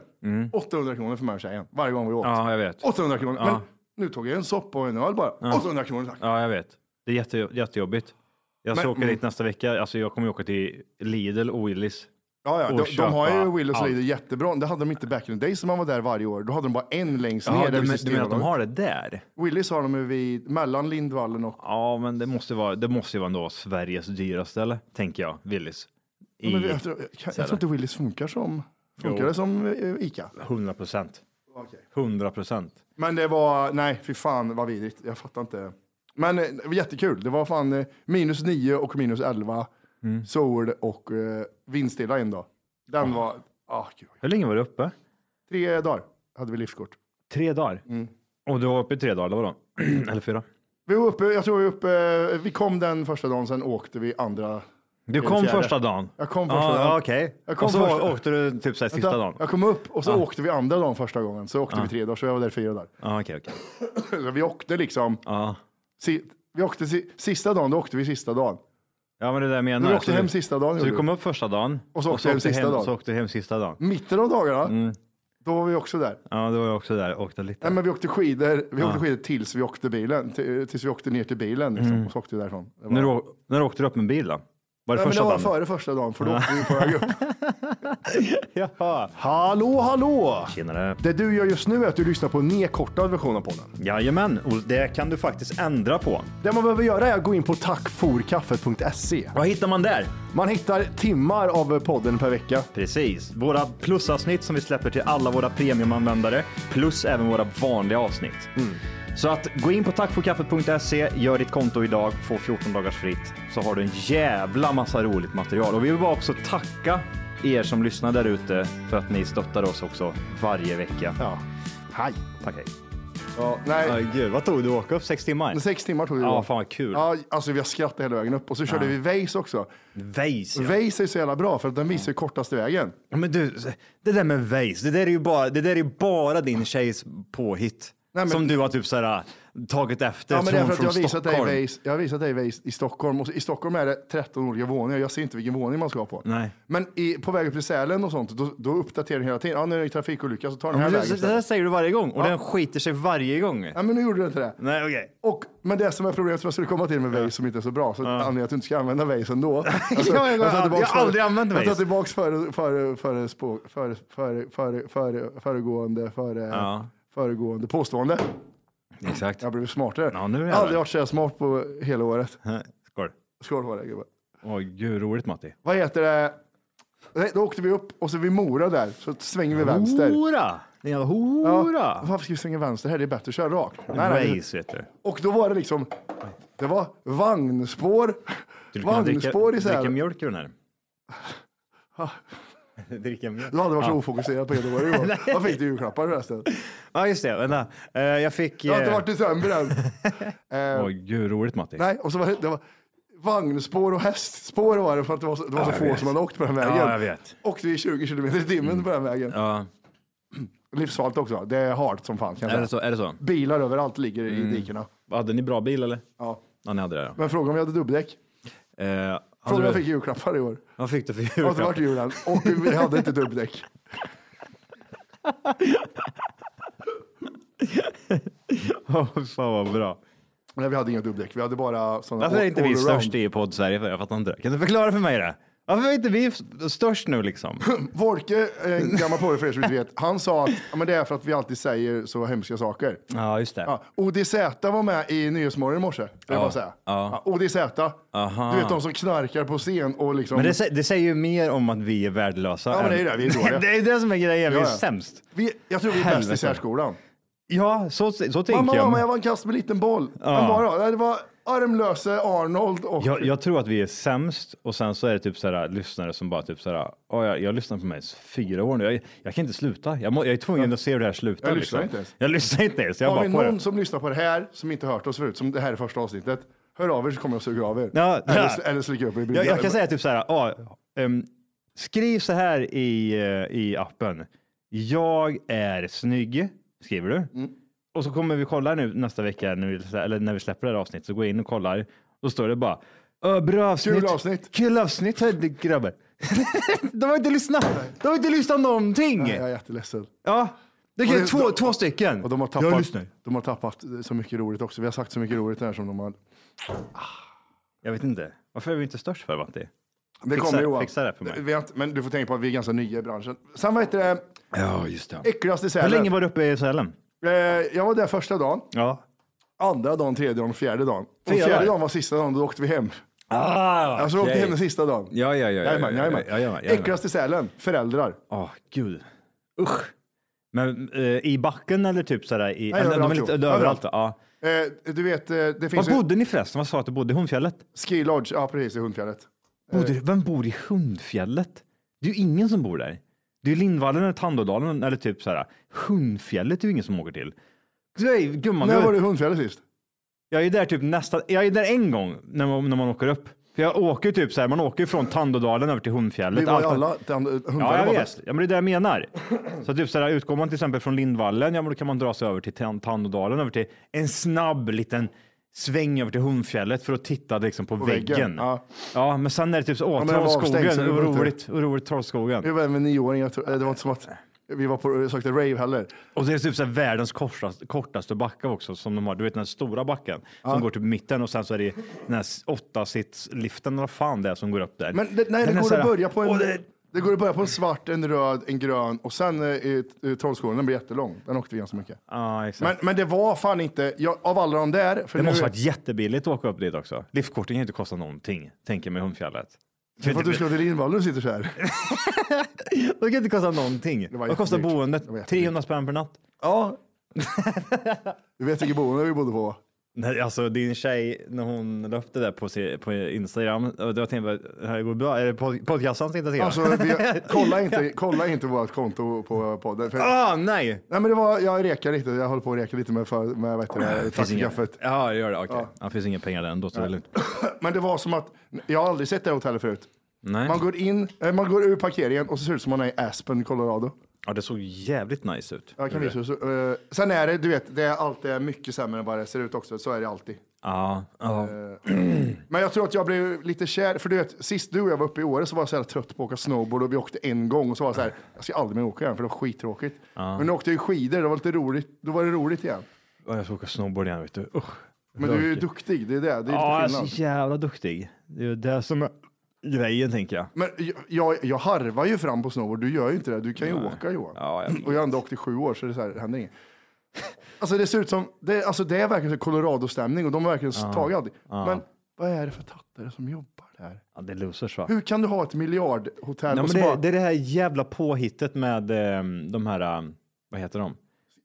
[SPEAKER 6] 800 kronor för mig och tjejen. Varje gång vi åt.
[SPEAKER 2] Ja, jag vet.
[SPEAKER 6] 800 kronor.
[SPEAKER 2] Ja.
[SPEAKER 6] Men nu tog jag en soppa och en öl bara.
[SPEAKER 2] Ja.
[SPEAKER 6] 800 kronor tack.
[SPEAKER 2] Ja, jag vet. Det är jätte, jättejobbigt. Jag ska
[SPEAKER 6] Men- Mm.
[SPEAKER 2] åka dit nästa vecka. Alltså, jag kommer ju åka till Lidl och Willys.
[SPEAKER 6] Ja, ja.
[SPEAKER 2] och
[SPEAKER 6] De, de har ju
[SPEAKER 2] köpa
[SPEAKER 6] Willys
[SPEAKER 2] allt.
[SPEAKER 6] Lidl jättebra. Det hade de inte back in the days när man var där varje år. Då hade de bara en längst
[SPEAKER 2] Ja,
[SPEAKER 6] ner.
[SPEAKER 2] du,
[SPEAKER 6] där
[SPEAKER 2] men-
[SPEAKER 6] vid
[SPEAKER 2] du menar att de
[SPEAKER 6] Systembolaget.
[SPEAKER 2] har det där?
[SPEAKER 6] Willys har de ju vid, mellan Lindvallen och...
[SPEAKER 2] Ja, men det måste, vara, det måste ju vara ändå Sveriges dyraste, eller? Tänker jag, Willys.
[SPEAKER 6] Ja, men alltså- jag, tror, jag, jag tror inte Willys funkar som... Funkar
[SPEAKER 2] Jo.
[SPEAKER 6] det som eh, Ica?
[SPEAKER 2] 100 procent. 100 procent.
[SPEAKER 6] Men det var, nej fy fan vad vidrigt. Jag fattar inte. Men eh, det var jättekul. Det var fan eh, minus 9 och minus 11.
[SPEAKER 2] Mm.
[SPEAKER 6] Sol och eh, vindstilla en dag. Den var, ah gud.
[SPEAKER 2] Hur länge var du uppe?
[SPEAKER 6] Tre dagar hade vi liftkort.
[SPEAKER 2] Tre dagar?
[SPEAKER 6] Mm.
[SPEAKER 2] Och du var uppe i tre dagar, eller vadå? eller fyra?
[SPEAKER 6] Vi var uppe, jag tror vi var uppe, vi kom den första dagen, sen åkte vi andra.
[SPEAKER 2] Du
[SPEAKER 6] eller
[SPEAKER 2] kom
[SPEAKER 6] fjärde.
[SPEAKER 2] första dagen?
[SPEAKER 6] Jag kom första dagen.
[SPEAKER 2] Ja, okej.
[SPEAKER 6] Jag kom
[SPEAKER 2] Och så
[SPEAKER 6] första-
[SPEAKER 2] åkte du typ så här sista
[SPEAKER 6] Vänta,
[SPEAKER 2] dagen? Ah.
[SPEAKER 6] Jag kom upp och så
[SPEAKER 2] Ja.
[SPEAKER 6] åkte vi andra dagen första gången. Så åkte
[SPEAKER 2] Ja.
[SPEAKER 6] vi tre dagar, så jag var där fyra dagar.
[SPEAKER 2] Ja, okej, okej.
[SPEAKER 6] Så vi åkte liksom,
[SPEAKER 2] Ja.
[SPEAKER 6] si, vi åkte si, sista dagen, då åkte vi sista dagen.
[SPEAKER 2] Ja, men det där jag menar.
[SPEAKER 6] Men vi åkte
[SPEAKER 2] Så
[SPEAKER 6] hem sista dagen,
[SPEAKER 2] Så
[SPEAKER 6] gjorde
[SPEAKER 2] du
[SPEAKER 6] vi.
[SPEAKER 2] kom upp första dagen
[SPEAKER 6] Och så åkte hem sista dagen.
[SPEAKER 2] och så åkte du hem sista dagen.
[SPEAKER 6] Mitten av dagarna,
[SPEAKER 2] Mm.
[SPEAKER 6] då var vi också där.
[SPEAKER 2] Ja, då var jag också där och åkte lite.
[SPEAKER 6] Nej, men vi åkte skidor, vi
[SPEAKER 2] Ja.
[SPEAKER 6] åkte skidor tills vi åkte bilen, till- tills vi åkte ner till bilen liksom,
[SPEAKER 2] Mm.
[SPEAKER 6] och så åkte vi därifrån. Det var-
[SPEAKER 2] När, du, å- när du åkte du upp med bil då? Var det
[SPEAKER 6] Nej, men
[SPEAKER 2] första
[SPEAKER 6] det var
[SPEAKER 2] dagen?
[SPEAKER 6] före första dagen, för då åkte vi på väg upp.
[SPEAKER 2] Jaha.
[SPEAKER 6] Hallå, hallå!
[SPEAKER 2] Tjenare.
[SPEAKER 6] Det du gör just nu är att du lyssnar på en nedkortad version av podden.
[SPEAKER 2] Jajamän, och det kan du faktiskt ändra på.
[SPEAKER 6] Det man behöver göra är att gå in på tackforkaffet.se.
[SPEAKER 2] Vad hittar man där?
[SPEAKER 6] Man hittar timmar av podden per vecka.
[SPEAKER 2] Precis. Våra plusavsnitt som vi släpper till alla våra premiumanvändare, plus även våra vanliga avsnitt.
[SPEAKER 6] Mm.
[SPEAKER 2] Så att gå in på tackforkaffet.se, gör ditt konto idag, få 14 dagars fritt, så har du en jävla massa roligt material. Och vi vill bara också tacka er som lyssnar där ute för att ni stöttar oss också varje vecka.
[SPEAKER 6] Ja. Hej.
[SPEAKER 2] Tack hej.
[SPEAKER 6] Ja, nej.
[SPEAKER 2] Aj, gud, vad tog du åka upp? Sex timmar?
[SPEAKER 6] Sex timmar tog det
[SPEAKER 2] Ja,
[SPEAKER 6] då.
[SPEAKER 2] fan vad kul.
[SPEAKER 6] Ja, alltså vi har skrattat hela vägen upp och så körde vi Waze också.
[SPEAKER 2] Waze, ja.
[SPEAKER 6] Waze är så jävla bra för att den visar ju kortaste vägen.
[SPEAKER 2] Ja, Men du, det där med Waze, det där är ju bara, det där är ju bara din tjejs påhitt.
[SPEAKER 6] Nej, men-
[SPEAKER 2] Som du har typ så här, tagit efter.
[SPEAKER 6] Ja, men det är
[SPEAKER 2] tror
[SPEAKER 6] för att jag
[SPEAKER 2] hon
[SPEAKER 6] har,
[SPEAKER 2] från
[SPEAKER 6] visat dig
[SPEAKER 2] Stockholm.
[SPEAKER 6] Waze, jag har visat dig Waze i Stockholm och så- i Stockholm är det 13 olika våningar. Jag ser inte vilken våning man ska på.
[SPEAKER 2] Nej.
[SPEAKER 6] Men i, på väg upp till Sälen och sånt, då, då uppdaterar den hela tiden. Ja, nu är det trafikolycka så tar
[SPEAKER 2] Ja,
[SPEAKER 6] den här
[SPEAKER 2] men
[SPEAKER 6] vägen.
[SPEAKER 2] det, det där
[SPEAKER 6] istället.
[SPEAKER 2] säger du varje gång och den skiter sig varje gång.
[SPEAKER 6] Ja, men nu gjorde den inte det.
[SPEAKER 2] Nej, okej.
[SPEAKER 6] Och, men det som är problemet som jag skulle komma till med Waze som inte är så bra, så anledningen att du inte ska använda Waze ändå. Alltså,
[SPEAKER 2] Ja, jag går-
[SPEAKER 6] tar tillbaks
[SPEAKER 2] jag har
[SPEAKER 6] före-
[SPEAKER 2] aldrig använt
[SPEAKER 6] Jag tar
[SPEAKER 2] Waze.
[SPEAKER 6] tillbaka före, före, före, spå- före, före, före, före, föregående, före,
[SPEAKER 2] Ja.
[SPEAKER 6] föregående påstående.
[SPEAKER 2] Exakt.
[SPEAKER 6] Jag har blivit smartare.
[SPEAKER 2] Ja, nu är jag
[SPEAKER 6] aldrig
[SPEAKER 2] det.
[SPEAKER 6] varit så här smart på hela året.
[SPEAKER 2] Äh, Skål.
[SPEAKER 6] Skål på dig gubben.
[SPEAKER 2] Åh gud, roligt Matti.
[SPEAKER 6] Vad heter det? Nej, Då åkte vi upp och så vid Mora där, så svänger vi vänster.
[SPEAKER 2] Hora! Din jävla
[SPEAKER 6] Ja,
[SPEAKER 2] hora!
[SPEAKER 6] varför ska vi svänga vänster här? Det är bättre att köra rakt. Nej, nej, vi-
[SPEAKER 2] Waze vet du.
[SPEAKER 6] Och då var det liksom, det var vagnspår,
[SPEAKER 2] Du kunna dricka,
[SPEAKER 6] vagnspår i
[SPEAKER 2] dricka
[SPEAKER 6] Sälen.
[SPEAKER 2] mjölk ur den här. dricka mjölk.
[SPEAKER 6] Du hade varit så
[SPEAKER 2] Ja.
[SPEAKER 6] ofokuserad på hela året. Johan. Vad fick du i julklappar förresten?
[SPEAKER 2] Ja, just det. Vänta. Eh, jag fick...
[SPEAKER 6] Det har inte
[SPEAKER 2] eh,
[SPEAKER 6] varit december än. Eh,
[SPEAKER 2] Åh gud, roligt Matti.
[SPEAKER 6] nej, och så var det, det var vagnspår och hästspår var det för att det var så, det var så
[SPEAKER 2] jag
[SPEAKER 6] få
[SPEAKER 2] vet.
[SPEAKER 6] som hade åkt på den vägen.
[SPEAKER 2] Ja, jag vet. Mm.
[SPEAKER 6] Åkte vi 20 kilometer i timmen på den vägen.
[SPEAKER 2] Ja.
[SPEAKER 6] Livsfarligt också. Det är hårt som fan kan
[SPEAKER 2] Är det
[SPEAKER 6] jag
[SPEAKER 2] så?
[SPEAKER 6] säga.
[SPEAKER 2] Är det så?
[SPEAKER 6] Bilar överallt ligger
[SPEAKER 2] Mm.
[SPEAKER 6] i dikena.
[SPEAKER 2] Hade ni bra bil eller?
[SPEAKER 6] Ja.
[SPEAKER 2] Ja, ni hade det.
[SPEAKER 6] Men fråga om jag hade dubbdäck.
[SPEAKER 2] Ja. Eh, hade
[SPEAKER 6] Fråga om
[SPEAKER 2] du-
[SPEAKER 6] jag fick i julklappar i år.
[SPEAKER 2] Vad fick du för
[SPEAKER 6] Jag har
[SPEAKER 2] julklapp?
[SPEAKER 6] inte varit i julen och vi hade inte dubbdäck.
[SPEAKER 2] Åh, Fan vad bra.
[SPEAKER 6] Nej, vi hade inga dubbdäck. Vi hade bara sådana
[SPEAKER 2] Varför är
[SPEAKER 6] all-
[SPEAKER 2] inte vi
[SPEAKER 6] allround.
[SPEAKER 2] störst i podd Sverige? För? Jag fattar inte. Kan du förklara för mig det? Varför är inte vi störst nu liksom?
[SPEAKER 6] Vorke, en gammal polare för er som inte vet, han sa att ja, men det är för att vi alltid säger så hemska saker.
[SPEAKER 2] Ja, just det.
[SPEAKER 6] Ja, ODZ var med i Nyhetsmorgon i morse, vill jag
[SPEAKER 2] Ja,
[SPEAKER 6] bara säga.
[SPEAKER 2] ja.
[SPEAKER 6] Ja, ODZ,
[SPEAKER 2] Aha.
[SPEAKER 6] du vet de som knarkar på scen och liksom...
[SPEAKER 2] Men det, sä- det säger ju mer om att vi är värdelösa.
[SPEAKER 6] Ja, men det är ju
[SPEAKER 2] än-
[SPEAKER 6] det, vi är dåliga.
[SPEAKER 2] det är ju det som är grejen, vi är
[SPEAKER 6] Ja, ja.
[SPEAKER 2] sämst.
[SPEAKER 6] vi, jag tror vi är bäst i
[SPEAKER 2] Helvete.
[SPEAKER 6] särskolan.
[SPEAKER 2] Ja, så, så tänker
[SPEAKER 6] Mamma,
[SPEAKER 2] jag.
[SPEAKER 6] mamma, jag var en kast med liten boll.
[SPEAKER 2] Ja.
[SPEAKER 6] Vem var det då? Nej, Det var armlöse Arnold och...
[SPEAKER 2] Jag, jag tror att vi är sämst och sen så är det typ sådär lyssnare som bara typ såhär, oh, jag, jag lyssnar på mig i fyra år nu, jag, jag kan inte sluta, jag, må, jag är tvungen att se hur det här slutar. liksom."
[SPEAKER 6] Jag lyssnar inte ens.
[SPEAKER 2] Jag lyssnar inte ens, jag
[SPEAKER 6] Har
[SPEAKER 2] bara
[SPEAKER 6] vi
[SPEAKER 2] på det.
[SPEAKER 6] någon som lyssnar på det här som inte hört oss förut, som det här är första avsnittet, hör av er så kommer jag suga av er.
[SPEAKER 2] Ja.
[SPEAKER 6] Eller, eller slicka upp er i brygga.
[SPEAKER 2] Jag, jag kan säga typ såhär, ja, ehm, skriv så här i, eh, i appen, jag är snygg, skriver du.
[SPEAKER 6] Mm.
[SPEAKER 2] Och så kommer vi kolla nu nästa vecka, när vi, slä- eller när vi släpper det här avsnittet, så går jag in och kollar, då står det bara, "Ö, bra avsnitt.
[SPEAKER 6] Kul avsnitt.
[SPEAKER 2] Kul avsnitt, hörde grabbar. De har inte lyssnat. De har inte lyssnat någonting.
[SPEAKER 6] Nej, jag är jätteledsen.
[SPEAKER 2] Ja, det
[SPEAKER 6] Och
[SPEAKER 2] kan
[SPEAKER 6] det-
[SPEAKER 2] två, två stycken.
[SPEAKER 6] Och de har,
[SPEAKER 2] jag
[SPEAKER 6] tappat,
[SPEAKER 2] lyssnar.
[SPEAKER 6] de har tappat så mycket roligt också. Vi har sagt så mycket roligt här som de har...
[SPEAKER 2] Jag vet inte. Varför är vi inte störst för Matti?
[SPEAKER 6] Det
[SPEAKER 2] Fixa-
[SPEAKER 6] kommer Johan.
[SPEAKER 2] fixa det för mig.
[SPEAKER 6] Vi har inte- men du får tänka på att vi är ganska nya i branschen. Sen vad heter det?
[SPEAKER 2] Ja, just det.
[SPEAKER 6] Äckligaste
[SPEAKER 2] Hur
[SPEAKER 6] Sälen.
[SPEAKER 2] länge var du uppe i Sälen?
[SPEAKER 6] Eh, Jag var där första dagen,
[SPEAKER 2] Ja.
[SPEAKER 6] andra dagen, tredje dagen, fjärde dagen. Och
[SPEAKER 2] Fyra
[SPEAKER 6] fjärde
[SPEAKER 2] dagar.
[SPEAKER 6] dagen var sista dagen, då åkte vi hem.
[SPEAKER 2] Ah,
[SPEAKER 6] Alltså vi åkte hem den sista dagen.
[SPEAKER 2] Ja, ja, ja.
[SPEAKER 6] Jajamän, jajamän.
[SPEAKER 2] ja, ja, ja, ja.
[SPEAKER 6] Äckligaste Sälen, föräldrar.
[SPEAKER 2] Åh, gud. Usch. Men eh, i backen eller typ sådär? I,
[SPEAKER 6] Nej,
[SPEAKER 2] eller, de är
[SPEAKER 6] överallt,
[SPEAKER 2] lite,
[SPEAKER 6] jo.
[SPEAKER 2] överallt. Ja.
[SPEAKER 6] Eh, Du vet, eh, det finns
[SPEAKER 2] Var bodde ni förresten? Vad sa att du bodde? I Hundfjället?
[SPEAKER 6] Ski Lodge, ja precis, i Hundfjället.
[SPEAKER 2] Bodde,
[SPEAKER 6] Eh.
[SPEAKER 2] vem bor i Hundfjället? Det är ju ingen som bor där. Det är ju Lindvallen eller Tandådalen eller typ sådär. Hundfjället är ju ingen som åker till. Nej, gumman,
[SPEAKER 6] När
[SPEAKER 2] du-
[SPEAKER 6] var du i Hundfjället sist?
[SPEAKER 2] Jag är där typ nästan, jag är där en gång när man, när man åker upp. För jag åker typ så här, man åker från Tandådalen över till Hundfjället.
[SPEAKER 6] Vi var ju
[SPEAKER 2] Allt-
[SPEAKER 6] alla, den-
[SPEAKER 2] Ja,
[SPEAKER 6] Hundfjället
[SPEAKER 2] jag
[SPEAKER 6] var
[SPEAKER 2] vet.
[SPEAKER 6] bäst.
[SPEAKER 2] Ja, men det är det jag menar. Så typ så här, utgår man till exempel från Lindvallen, ja, men då kan man dra sig över till Tan- Tandådalen, över till en snabb liten sväng över till Hundfjället för att titta liksom på,
[SPEAKER 6] På väggen,
[SPEAKER 2] väggen.
[SPEAKER 6] ja.
[SPEAKER 2] Ja. men sen är det typ så, åh,
[SPEAKER 6] men den var avstängd, så det
[SPEAKER 2] Trollskogen,
[SPEAKER 6] går
[SPEAKER 2] vad
[SPEAKER 6] inte.
[SPEAKER 2] roligt, vad roligt Trollskogen.
[SPEAKER 6] Vi var även nioåringar, tror- eh, det var inte som att vi var på, sökte rave heller.
[SPEAKER 2] Och det är typ så här världens kortaste, kortaste backa också som de har. Du vet den här stora backen som går typ i mitten och sen så är det den här åtta liften eller vad fan det är som går upp där.
[SPEAKER 6] Men det, nej, det
[SPEAKER 2] Den är
[SPEAKER 6] går
[SPEAKER 2] så
[SPEAKER 6] att
[SPEAKER 2] här-
[SPEAKER 6] börja på en...
[SPEAKER 2] Åh,
[SPEAKER 6] Det... går att börja på en svart, en röd, en grön och sen eh, eh, Trollskogen, den blir jättelång. Den åkte vi ganska mycket.
[SPEAKER 2] Ja, exakt.
[SPEAKER 6] Men, men det var fan inte, jag, av alla de där, för
[SPEAKER 2] det
[SPEAKER 6] nu,
[SPEAKER 2] måste varit jättebilligt att åka upp dit också. Liftkorten kan ju inte kosta någonting, tänker jag med Hundfjället. Det
[SPEAKER 6] för
[SPEAKER 2] kan
[SPEAKER 6] att du
[SPEAKER 2] inte-
[SPEAKER 6] ska till Lindvallen och sitter så här.
[SPEAKER 2] det kan inte kosta någonting.
[SPEAKER 6] var
[SPEAKER 2] Vad kostar
[SPEAKER 6] jättedyrt.
[SPEAKER 2] boendet?
[SPEAKER 6] Det var jättedyrt.
[SPEAKER 2] 300 spänn per natt.
[SPEAKER 6] Ja. du vet vilket boende vi bodde på?
[SPEAKER 2] Nej, alltså din tjej, när hon la upp det där på, se- på Instagram, då tänkte jag, bara, det här går bra. Är det pod- podcastans Instagram?
[SPEAKER 6] Alltså, vi, kolla, inte, kolla inte vårt konto på podden. För,
[SPEAKER 2] ah, nej!
[SPEAKER 6] Nej, men det var, jag rekar lite, jag håller på att reka lite med, för, med vad heter det,
[SPEAKER 2] Finns inga-
[SPEAKER 6] taxigaffet.
[SPEAKER 2] Ja, det gör det. Okej. Ja. Det finns inga pengar där ändå, så det är lugnt.
[SPEAKER 6] Men det var som att, jag har aldrig sett det här hotellet förut.
[SPEAKER 2] Nej.
[SPEAKER 6] Man går in, eh, man går ur parkeringen och så ser det ut som man är i Aspen, Colorado.
[SPEAKER 2] Ja, det såg jävligt nice ut.
[SPEAKER 6] Jag kan
[SPEAKER 2] Gjorde
[SPEAKER 6] visa.
[SPEAKER 2] det?
[SPEAKER 6] Så, eh, sen är det, du vet, det är alltid mycket sämre än vad det ser ut också. Så är det alltid.
[SPEAKER 2] Ja. ja.
[SPEAKER 6] Eh. Men jag tror att jag blev lite kär, för du vet, sist du och jag var uppe i Åre så var jag så här trött på att åka snowboard och vi åkte en gång och så var jag så här, jag ska aldrig mer åka igen för det var skittråkigt. Men nu åkte jag ju skidor, det var lite roligt, då var det roligt igen.
[SPEAKER 2] Ja, Jag ska åka snowboard igen, vet du. Usch.
[SPEAKER 6] Men du är ju
[SPEAKER 2] Lökigt.
[SPEAKER 6] duktig, det är det, det är
[SPEAKER 2] Ja, alltså, jag är
[SPEAKER 6] lite skillnad.
[SPEAKER 2] så jävla duktig. Det är ju det som är grejen, tänker jag.
[SPEAKER 6] Men jag- jag, jag harvar ju fram på snowboard, du gör ju inte det, du kan ju åka Johan.
[SPEAKER 2] Ja, jag-
[SPEAKER 6] Och jag har ändå åkt i sju år så det, är så här, det händer inget. Alltså det ser ut som, det, alltså, det är verkligen så Colorado-stämning och de har verkligen tagit allt.
[SPEAKER 2] Ja.
[SPEAKER 6] Men vad är det för tattare som jobbar där?
[SPEAKER 2] Ja, det är losers, va?
[SPEAKER 6] Hur kan du ha ett miljardhotell
[SPEAKER 2] Nej, men
[SPEAKER 6] och så
[SPEAKER 2] det,
[SPEAKER 6] bara,
[SPEAKER 2] det är det här jävla påhittet med ehm, de här, ehm, vad heter de?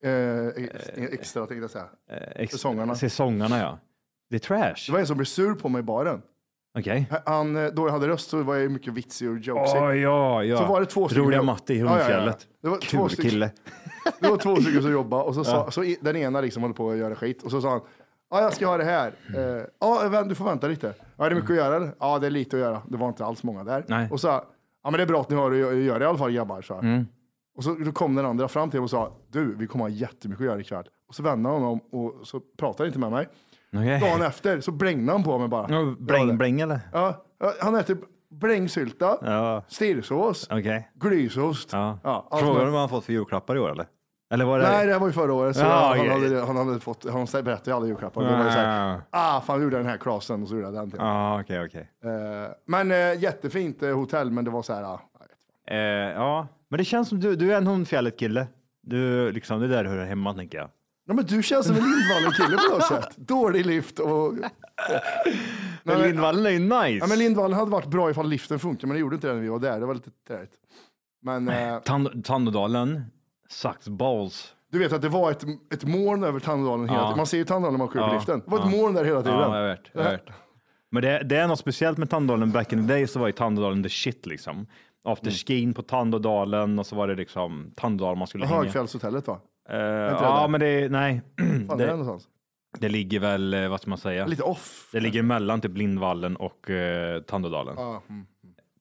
[SPEAKER 6] eh, ex- extra tänkte jag säga.
[SPEAKER 2] Eh, ex-
[SPEAKER 6] Säsongerna.
[SPEAKER 2] Säsongerna, ja. Det är trash.
[SPEAKER 6] Det var en som blev sur på mig i baren.
[SPEAKER 2] Okej.
[SPEAKER 6] Han, eh, då jag hade röst så var jag mycket vitsig och
[SPEAKER 2] Åh
[SPEAKER 6] jokesig.
[SPEAKER 2] ja, ja.
[SPEAKER 6] Så var det två stycken-
[SPEAKER 2] Roliga Matti i
[SPEAKER 6] Ja, ja, ja.
[SPEAKER 2] Hundfjället.
[SPEAKER 6] Det var
[SPEAKER 2] Kul
[SPEAKER 6] två stycken-
[SPEAKER 2] kille.
[SPEAKER 6] Det var två stycken som jobbade och så, sa, så i- den ena liksom höll på att göra skit och så sa han Ja, jag ska ha det här.
[SPEAKER 2] Mm.
[SPEAKER 6] Eh, Ja, vän, du får vänta lite. Ja, är det mycket att göra? eller? Ja, det är lite att göra. Det var inte alls många där.
[SPEAKER 2] Nej.
[SPEAKER 6] Och så, ja, men det är bra att ni har att gö- göra i alla fall grabbar, så.
[SPEAKER 2] Mm.
[SPEAKER 6] Och så då kom den andra fram till mig och sa, du, vi kommer ha jättemycket att göra ikväll. Och så vände han om och så pratade han inte med mig.
[SPEAKER 2] Okej.
[SPEAKER 6] Dagen efter så blängde han på mig bara.
[SPEAKER 2] Eh. Ja,
[SPEAKER 6] Ja, det-
[SPEAKER 2] Bläng, bläng eller?
[SPEAKER 6] Ja, ja, han äter blängsylta,
[SPEAKER 2] Ja,
[SPEAKER 6] stirrsås,
[SPEAKER 2] okej.
[SPEAKER 6] glysost.
[SPEAKER 2] Ja.
[SPEAKER 6] Ja, allt
[SPEAKER 2] Frågar du
[SPEAKER 6] möjligt.
[SPEAKER 2] vad han fått för julklappar i år eller? Eller var det?
[SPEAKER 6] Nej, det här var ju förra året. Så
[SPEAKER 2] Ja,
[SPEAKER 6] han,
[SPEAKER 2] ja,
[SPEAKER 6] hade, han hade fått, han berättade ju alla julklappar. Det var ju så här, ah, fan, jag gjorde den här klassen och så gjorde jag den till.
[SPEAKER 2] Ja, ah, okej, okej.
[SPEAKER 6] Eh, men eh, jättefint eh, hotell, men det var så här, ah,
[SPEAKER 2] Eh, Ja, men det känns som du, du är en hundfjället-kille. Du, liksom, det där hör hemma, tänker jag.
[SPEAKER 6] Ja, men du känns som en Lindvallen-kille på något sätt. Dålig lift och...
[SPEAKER 2] Men Lindvallen är ju nice.
[SPEAKER 6] Ja, men Lindvallen hade varit bra ifall liften funkar, men det gjorde inte det när vi var där. Det var lite träigt. Men eh,
[SPEAKER 2] Tand- Tandådalen, sucks balls.
[SPEAKER 6] du vet att det var ett, ett moln över Tandådalen hela
[SPEAKER 2] Ja.
[SPEAKER 6] tiden. Man ser ju Tandådalen när man åker upp i
[SPEAKER 2] Ja,
[SPEAKER 6] liften. Det var ett
[SPEAKER 2] ja.
[SPEAKER 6] moln där hela tiden.
[SPEAKER 2] Ja, jag vet. Jag vet. Men det, det är något speciellt med Tandådalen. Back in the day så var ju Tandådalen the shit liksom.
[SPEAKER 6] Mm.
[SPEAKER 2] Afterskin på Tandådalen och så var det liksom Tandådalen man skulle hänga.
[SPEAKER 6] Högfjällshotellet va?
[SPEAKER 2] Eh,
[SPEAKER 6] inte det
[SPEAKER 2] ja,
[SPEAKER 6] där?
[SPEAKER 2] men det, nej.
[SPEAKER 6] Fan, det är
[SPEAKER 2] Mm. det,
[SPEAKER 6] någonstans.
[SPEAKER 2] det ligger väl, eh, vad ska man säga?
[SPEAKER 6] Lite off.
[SPEAKER 2] Det ligger mellan typ Lindvallen och eh, Tandådalen.
[SPEAKER 6] Ja, mm.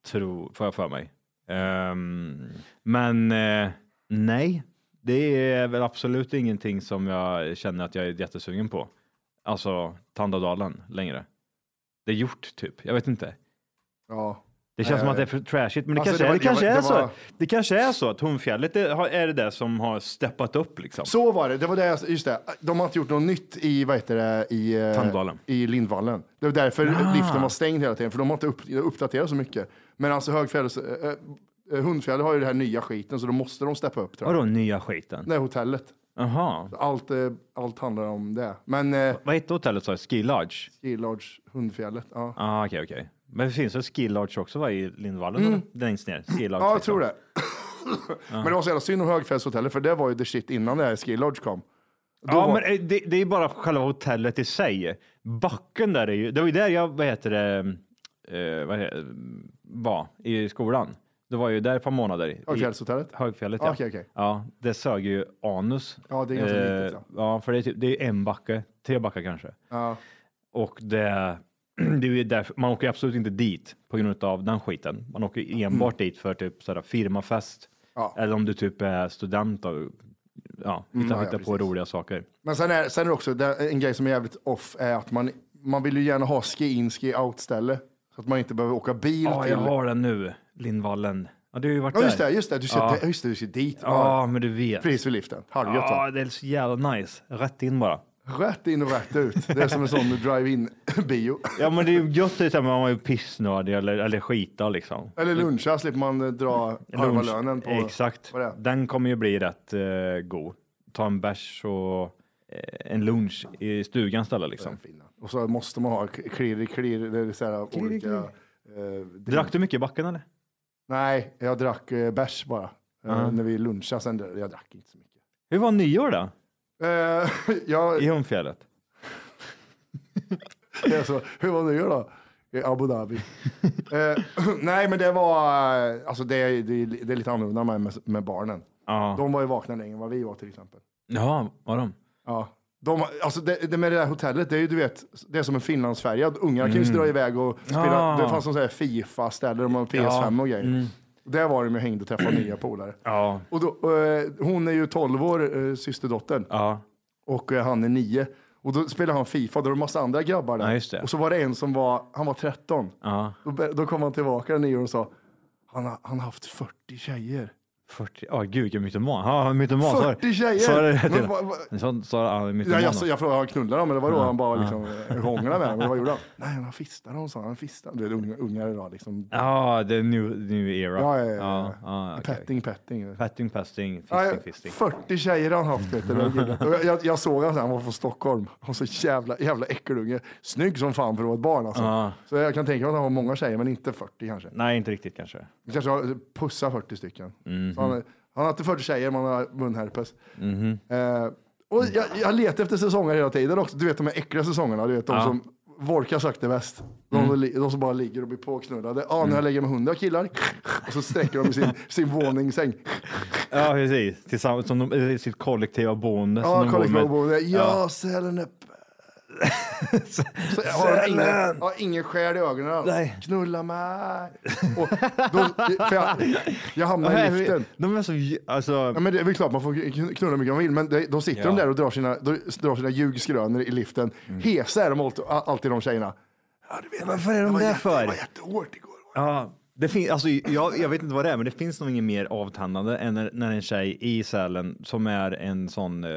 [SPEAKER 2] Tro, får jag för mig. Ehm, men eh, nej, det är väl absolut ingenting som jag känner att jag är jättesugen på. Alltså Tandådalen längre. Det är gjort typ, jag vet inte.
[SPEAKER 6] Ja.
[SPEAKER 2] Det känns som att det är för trashigt, men det
[SPEAKER 6] Alltså,
[SPEAKER 2] kanske,
[SPEAKER 6] det var-
[SPEAKER 2] är, det kanske
[SPEAKER 6] det
[SPEAKER 2] är
[SPEAKER 6] var-
[SPEAKER 2] så. Det kanske är så att Tonfjället är, har- är det där som har steppat upp liksom.
[SPEAKER 6] Så var det. Det var det jag, just det. De har inte gjort något nytt i, vad heter det, i, eh,
[SPEAKER 2] Tandvalen.
[SPEAKER 6] i Lindvallen. Det var därför
[SPEAKER 2] Ah.
[SPEAKER 6] liften var stängd hela tiden, för de har inte upp, uppdaterat så mycket. Men alltså högfjälls, eh, eh, Hundfjäll har ju den här nya skiten, så då måste de steppa upp. Tror jag.
[SPEAKER 2] Vadå nya skiten?
[SPEAKER 6] Det här hotellet.
[SPEAKER 2] Jaha.
[SPEAKER 6] Allt, eh, allt handlar om det. Men eh,
[SPEAKER 2] Vad hette hotellet sa jag? Ski Lodge?
[SPEAKER 6] Ski Lodge, Hundfjället. Ja,
[SPEAKER 2] Ah, okej, okej. Men finns det Ski Lodge också va, i Lindvallen?
[SPEAKER 6] Mm.
[SPEAKER 2] eller? Längst ner? Ski Lodge,
[SPEAKER 6] ja jag
[SPEAKER 2] liksom.
[SPEAKER 6] tror det. Men det var så jävla synd om högfjällshotellet, för det var ju the shit innan det här Ski Lodge kom. Då
[SPEAKER 2] Ja,
[SPEAKER 6] var-
[SPEAKER 2] men eh, det, det är ju bara själva hotellet i sig. Backen där är ju, det var ju där jag, vad heter det, eh, vad heter, var i skolan. Det var ju där ett par månader. i-
[SPEAKER 6] Högfjällshotellet?
[SPEAKER 2] Högfjället,
[SPEAKER 6] Ah,
[SPEAKER 2] ja.
[SPEAKER 6] okej, okej.
[SPEAKER 2] ja. Det sög ju anus.
[SPEAKER 6] Ja, det är ganska
[SPEAKER 2] Eh,
[SPEAKER 6] litet, liksom.
[SPEAKER 2] Ja, för det är, typ, det är en backe, tre backar kanske.
[SPEAKER 6] Ja.
[SPEAKER 2] Och det, det är ju därför, man åker absolut inte dit på grund av den skiten. Man åker
[SPEAKER 6] Mm.
[SPEAKER 2] enbart dit för typ sådär firmafest. Eller om du typ är student och ja,
[SPEAKER 6] Mm,
[SPEAKER 2] hittar,
[SPEAKER 6] ja,
[SPEAKER 2] hittar
[SPEAKER 6] ja,
[SPEAKER 2] på roliga saker.
[SPEAKER 6] Men sen är, sen är det också det, en grej som är jävligt off är att man, man vill ju gärna ha ski-in, ski-out ställe. Så att man inte behöver åka bil
[SPEAKER 2] Ja,
[SPEAKER 6] till...
[SPEAKER 2] jag har den nu, Lindvallen. Ja, du har ju varit
[SPEAKER 6] Ja, just
[SPEAKER 2] där.
[SPEAKER 6] det, just det. Du ska,
[SPEAKER 2] ja.
[SPEAKER 6] Just det, du ska dit.
[SPEAKER 2] Ja, men du vet.
[SPEAKER 6] Precis vid liften. Halvgött
[SPEAKER 2] Ja,
[SPEAKER 6] va?
[SPEAKER 2] det är så jävla nice. Rätt in bara.
[SPEAKER 6] Rätt in och rätt ut. Det är som en sån drive-in-bio.
[SPEAKER 2] Ja, men det är ju gött det är så här, man är ju pissnödig eller, eller skita liksom.
[SPEAKER 6] Eller luncha slipper man eh, dra halva
[SPEAKER 2] Lunch-
[SPEAKER 6] lönen på.
[SPEAKER 2] Exakt. Den kommer ju bli rätt eh, god. Ta en bärs och eh, en lunch i stugan istället liksom.
[SPEAKER 6] Och så måste man ha klirr, klirr, det är så här olika... eh,
[SPEAKER 2] Drack du mycket i backen eller?
[SPEAKER 6] Nej, jag drack eh, bärs bara. Eh,
[SPEAKER 2] Ja.
[SPEAKER 6] När vi lunchade sen, där, jag drack inte så mycket.
[SPEAKER 2] Hur var nyår då?
[SPEAKER 6] Eh, jag,
[SPEAKER 2] I Hundfjället?
[SPEAKER 6] Det är så, hur var det då? I Abu Dhabi. eh, nej, men det var, eh, alltså det, är- det, är- det är lite annorlunda med, med, med barnen.
[SPEAKER 2] Ja.
[SPEAKER 6] De var ju vakna längre än vad vi var till exempel.
[SPEAKER 2] Ja, var de?
[SPEAKER 6] Ja. De, alltså det, det med det där hotellet, det är ju du vet, det är som en finlandsfärja. Ungar kan ju
[SPEAKER 2] Mm.
[SPEAKER 6] dra iväg och spela.
[SPEAKER 2] Ah.
[SPEAKER 6] Det fanns sån här Fifa-ställe, de har PS5 och grejer.
[SPEAKER 2] Mm.
[SPEAKER 6] Där var de ju hängde och träffade nya polare.
[SPEAKER 2] Ja.
[SPEAKER 6] Och då, eh, hon är ju 12 år, eh, systerdottern. Och eh, han är 9. Och då spelade han Fifa, då var det massa andra grabbar där.
[SPEAKER 2] Ja, just det.
[SPEAKER 6] Och så var det en som var, han var 13.
[SPEAKER 2] Ja.
[SPEAKER 6] Då, be- då kom han tillbaka den 9 och sa, han har, han har haft 40 tjejer.
[SPEAKER 2] 40, ja gud vilken mytoman. Ja, mytoman. sa-
[SPEAKER 6] 40 tjejer!
[SPEAKER 2] Sa det
[SPEAKER 6] Men
[SPEAKER 2] till
[SPEAKER 6] vad- vad-
[SPEAKER 2] Sa- Sa han mytoman?
[SPEAKER 6] Jag, jag, jag frågade, han knullade dem eller vadå?
[SPEAKER 2] Ja,
[SPEAKER 6] Han bara
[SPEAKER 2] ja.
[SPEAKER 6] liksom eh, hånglade med dem, eller vad gjorde han? Nej, han har fistat dem, sa han. Han fistar. Du vet, unga- ungar idag liksom.
[SPEAKER 2] Ja, the new, new era.
[SPEAKER 6] Ja, ja, ja,
[SPEAKER 2] ja, ja, okej.
[SPEAKER 6] Petting, petting.
[SPEAKER 2] Petting, pesting,
[SPEAKER 6] Nej,
[SPEAKER 2] fisting, fisting.
[SPEAKER 6] 40 tjejer har han haft. Vet du, den killen. Och jag- jag, jag såg honom, han var från Stockholm. Och så jävla, jävla äckelunge. Snygg som fan för att vara ett barn alltså.
[SPEAKER 2] Ja.
[SPEAKER 6] Så jag kan tänka mig att han har många tjejer, men inte 40 kanske.
[SPEAKER 2] Nej, inte riktigt kanske.
[SPEAKER 6] Han kanske har pussat 40 stycken.
[SPEAKER 2] Mhm.
[SPEAKER 6] Så han, han har inte 40 tjejer, man har munherpes.
[SPEAKER 2] Mhm.
[SPEAKER 6] Eh, och jag, jag letar efter säsonger hela tiden också. Du vet de här äckliga säsongerna, du vet de
[SPEAKER 2] Ja. Mm.
[SPEAKER 6] som volkar sakta väst. De, som li- de som bara ligger och blir påknullade. Ja, ah, när jag lägger med hundra killar. Och så sträcker de i sin, sin våningssäng.
[SPEAKER 2] Ja, precis. Tillsammans, som de, eh, sitt kollektiva boende. som
[SPEAKER 6] Ja,
[SPEAKER 2] de bor med.
[SPEAKER 6] kollektivboende. Ja, sälen upp. Så jag har ingen, jag har ingen själ i ögonen alls.
[SPEAKER 2] Nej.
[SPEAKER 6] Knulla mig. Och då, för jag, jag hamnar i
[SPEAKER 2] Nej,
[SPEAKER 6] liften.
[SPEAKER 2] De är så... j- Alltså,
[SPEAKER 6] Ja, men det är väl klart man får kn- knulla hur mycket man vill, men det, då sitter de
[SPEAKER 2] Ja. Mm.
[SPEAKER 6] där och drar sina, då, drar sina ljugskrönor i liften. Hesa är de allt- alltid de tjejerna.
[SPEAKER 2] varför är de där för?
[SPEAKER 6] Det var jättehårt igår.
[SPEAKER 2] Ja, Det fin- alltså, jag, jag vet inte vad det är, men det finns nog inget mer avtändande än när, när en tjej i Sälen som är en sån eh,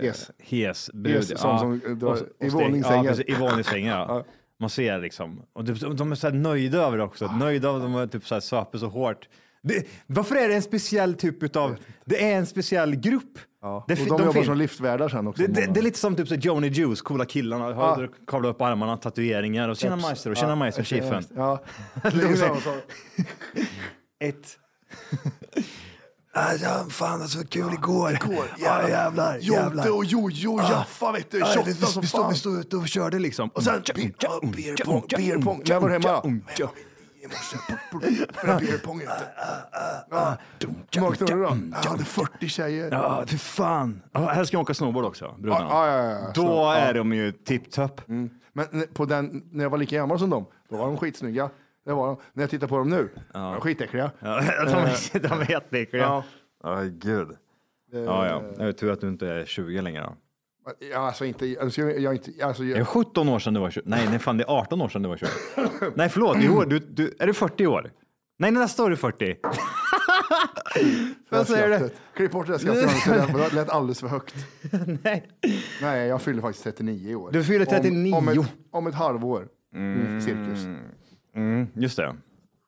[SPEAKER 6] Hes.
[SPEAKER 2] eh, hes brud.
[SPEAKER 6] Hes, sån som drar
[SPEAKER 2] och- och
[SPEAKER 6] i
[SPEAKER 2] stäng-
[SPEAKER 6] våningssängen.
[SPEAKER 2] Ja, precis, I våningssängen, ja. Man ser liksom. Och de, de är så här nöjda över det också. Nöjda av att de har typ så här söper så hårt. Det, varför är det en speciell typ utav... Det är en speciell grupp. Det,
[SPEAKER 6] och
[SPEAKER 2] fi-
[SPEAKER 6] de, jobbar
[SPEAKER 2] finns-
[SPEAKER 6] som liftvärdar sen också.
[SPEAKER 2] det, det,
[SPEAKER 6] många.
[SPEAKER 2] det är lite som typ så här Joni Juice, coola killarna, ah. kavla upp armarna, tatueringar och tjena
[SPEAKER 6] Eps.
[SPEAKER 2] Meister och tjena
[SPEAKER 6] Ja,
[SPEAKER 2] Meister,
[SPEAKER 6] tjena
[SPEAKER 2] chefen.
[SPEAKER 6] Meister. Ja.
[SPEAKER 2] Det är
[SPEAKER 6] Det är
[SPEAKER 2] så-
[SPEAKER 6] samma sak.
[SPEAKER 2] Ett. Ja, fan alltså vad kul igår. Ja, jävlar, jävlar.
[SPEAKER 6] Jonte och Jojo och
[SPEAKER 2] Ah.
[SPEAKER 6] Jaffa vet du,
[SPEAKER 2] Ja,
[SPEAKER 6] tjotta
[SPEAKER 2] vi- vi-
[SPEAKER 6] som
[SPEAKER 2] vi stod-
[SPEAKER 6] fan.
[SPEAKER 2] Vi stod ute och körde liksom.
[SPEAKER 6] Och sen
[SPEAKER 2] Tja,
[SPEAKER 6] beer-
[SPEAKER 2] tja,
[SPEAKER 6] ah, beer
[SPEAKER 2] tja,
[SPEAKER 6] pong,
[SPEAKER 2] tja,
[SPEAKER 6] beer pong.
[SPEAKER 2] tja,
[SPEAKER 6] När var det hemma
[SPEAKER 2] tja,
[SPEAKER 6] då?
[SPEAKER 2] tja.
[SPEAKER 6] Spela beerpong ute. Ja. Hur många hade du då? Jag hade 40 tjejer.
[SPEAKER 2] Ja, fy fan. Ja, Här ska jag åka snowboard också, brudarna.
[SPEAKER 6] Ja, ja, ja, ja.
[SPEAKER 2] Då
[SPEAKER 6] Snowboard.
[SPEAKER 2] är
[SPEAKER 6] Ja. Mm.
[SPEAKER 2] de ju tipptopp.
[SPEAKER 6] Men n- på den, när jag var lika gammal som dem, då var de skitsnygga. Det var de. När jag tittar på dem nu, de är skitäckliga.
[SPEAKER 2] Ja, de är- de är jätteäckliga.
[SPEAKER 6] Eh. Ja. Eh.
[SPEAKER 2] Ja, gud. Ja, ja. Det är tur att du inte är 20 längre. Då.
[SPEAKER 6] Ja, alltså inte, alltså, jag, jag, inte, alltså,
[SPEAKER 2] Är det
[SPEAKER 6] jag,
[SPEAKER 2] 17 år sedan du var 20? Nej, nej, fan det är 18 år sedan du var 20. Nej, förlåt. I år, du, du, är du 40 i år? Nej, nästa år är du 40. Vad säger du?
[SPEAKER 6] skrattet. Klipp bort det där skrattet, det lät alldeles för högt.
[SPEAKER 2] Nej.
[SPEAKER 6] Nej, jag fyller faktiskt 39 i år.
[SPEAKER 2] Du fyller 39.
[SPEAKER 6] Om, om, ett, om ett halvår. Mm. Cirkus.
[SPEAKER 2] Mm, just det.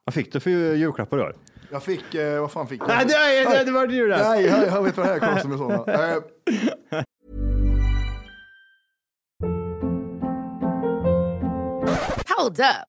[SPEAKER 2] Vad fick du för julklappar i år?
[SPEAKER 6] Jag fick, eh, vad fan fick jag?
[SPEAKER 2] Nej, nej, nej, det var det ju det.
[SPEAKER 6] Nej, jag, jag vet vad det här kostar med sådana. Eh,
[SPEAKER 12] Hold up.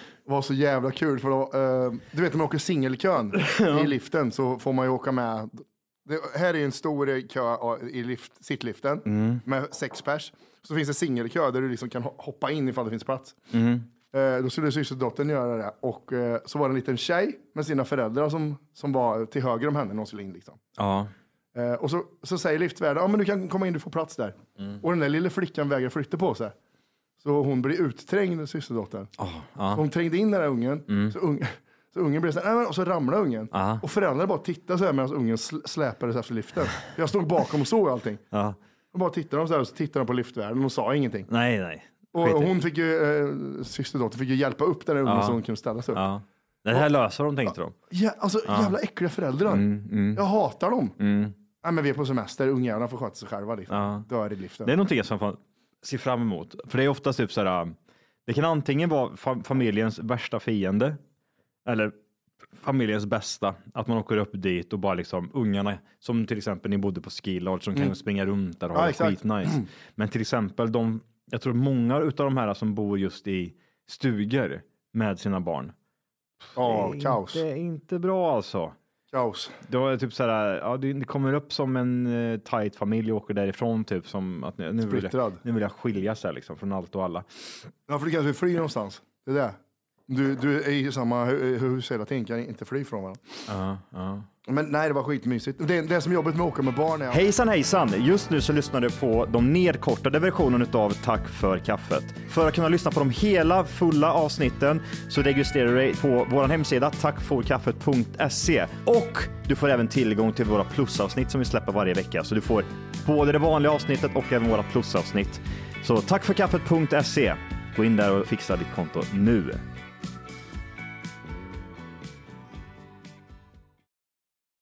[SPEAKER 6] var så jävla kul för då, eh, du vet när man åker singelkön i liften så får man ju åka med. Det, här är ju en stor eh, kö eh, i lift, sittliften med sex pers. Så finns det singelkö där du liksom kan ho- hoppa in ifall det finns plats. Eh, då skulle systerdottern göra det och eh, så var det en liten tjej med sina föräldrar som, som var till höger om henne när hon skulle in. Liksom.
[SPEAKER 2] Ja.
[SPEAKER 6] Eh, och så, så säger liftvärden, ja men du kan komma in, du får plats där.
[SPEAKER 2] Mm.
[SPEAKER 6] Och den där lilla flickan vägrar flytta på sig. Så hon blir utträngd, systerdottern.
[SPEAKER 2] Ah,
[SPEAKER 6] Så hon trängde in den där ungen.
[SPEAKER 2] Mm.
[SPEAKER 6] Så, ung, så ungen blev så här, "Nej, men", och så ramlade ungen.
[SPEAKER 2] Ah.
[SPEAKER 6] Och föräldrarna bara tittade så här medan ungen sl- släpades efter liften. Jag stod bakom och såg allting.
[SPEAKER 2] Ja.
[SPEAKER 6] Och bara tittade de så här och så tittade de på liftvärden och sa ingenting.
[SPEAKER 2] Nej, nej.
[SPEAKER 6] Och
[SPEAKER 2] Skit i. Ah.
[SPEAKER 6] hon fick ju, eh, systerdottern fick ju hjälpa upp den där ungen
[SPEAKER 2] Ja.
[SPEAKER 6] så hon kunde ställa sig upp.
[SPEAKER 2] Ja. Det här löser de, tänkte de.
[SPEAKER 6] Ja, alltså jävla äckliga föräldrar.
[SPEAKER 2] Mm,
[SPEAKER 6] Jag hatar dem. Nej, men vi är på semester, ungjävlarna får sköta sig själva. Liksom.
[SPEAKER 2] Ja.
[SPEAKER 6] Dör i liften.
[SPEAKER 2] Det är någonting som man ser fram emot. För det är oftast typ så här, det kan antingen vara fa- familjens värsta fiende eller familjens bästa. Att man åker upp dit och bara liksom ungarna, som till exempel ni bodde på Skilodge, som kan
[SPEAKER 6] Mm.
[SPEAKER 2] springa runt där och
[SPEAKER 6] Ja,
[SPEAKER 2] ha det
[SPEAKER 6] exakt.
[SPEAKER 2] skitnice. Men till exempel de, jag tror många av de här som bor just i stugor med sina barn.
[SPEAKER 6] Ja,
[SPEAKER 2] det är
[SPEAKER 6] kaos.
[SPEAKER 2] Inte, inte bra alltså.
[SPEAKER 6] Kaos.
[SPEAKER 2] Då är det typ så här, ja, det det kommer upp som en eh, tight familj och åker därifrån typ som att nu, nu, vill, jag,
[SPEAKER 6] Splittrad.
[SPEAKER 2] nu vill jag skiljas här liksom från allt och alla.
[SPEAKER 6] Ja, för du kanske vill fly någonstans. Det är det. Du, du är i samma hu- hus hela tiden, kan inte fly från varandra.
[SPEAKER 2] Ja, ja.
[SPEAKER 6] Men nej, det var skitmysigt. Det, det som är jobbigt med att åka med barn är att
[SPEAKER 2] Hejsan hejsan! Just nu så lyssnar du på de nedkortade versionen utav Tack för kaffet. För att kunna lyssna på de hela fulla avsnitten så registrerar du dig på vår hemsida tackforkaffet.se E. och du får även tillgång till våra plusavsnitt som vi släpper varje vecka. Så du får både det vanliga avsnittet och även E. våra plusavsnitt. Så tackforkaffet.se. Gå in där och fixa ditt konto nu.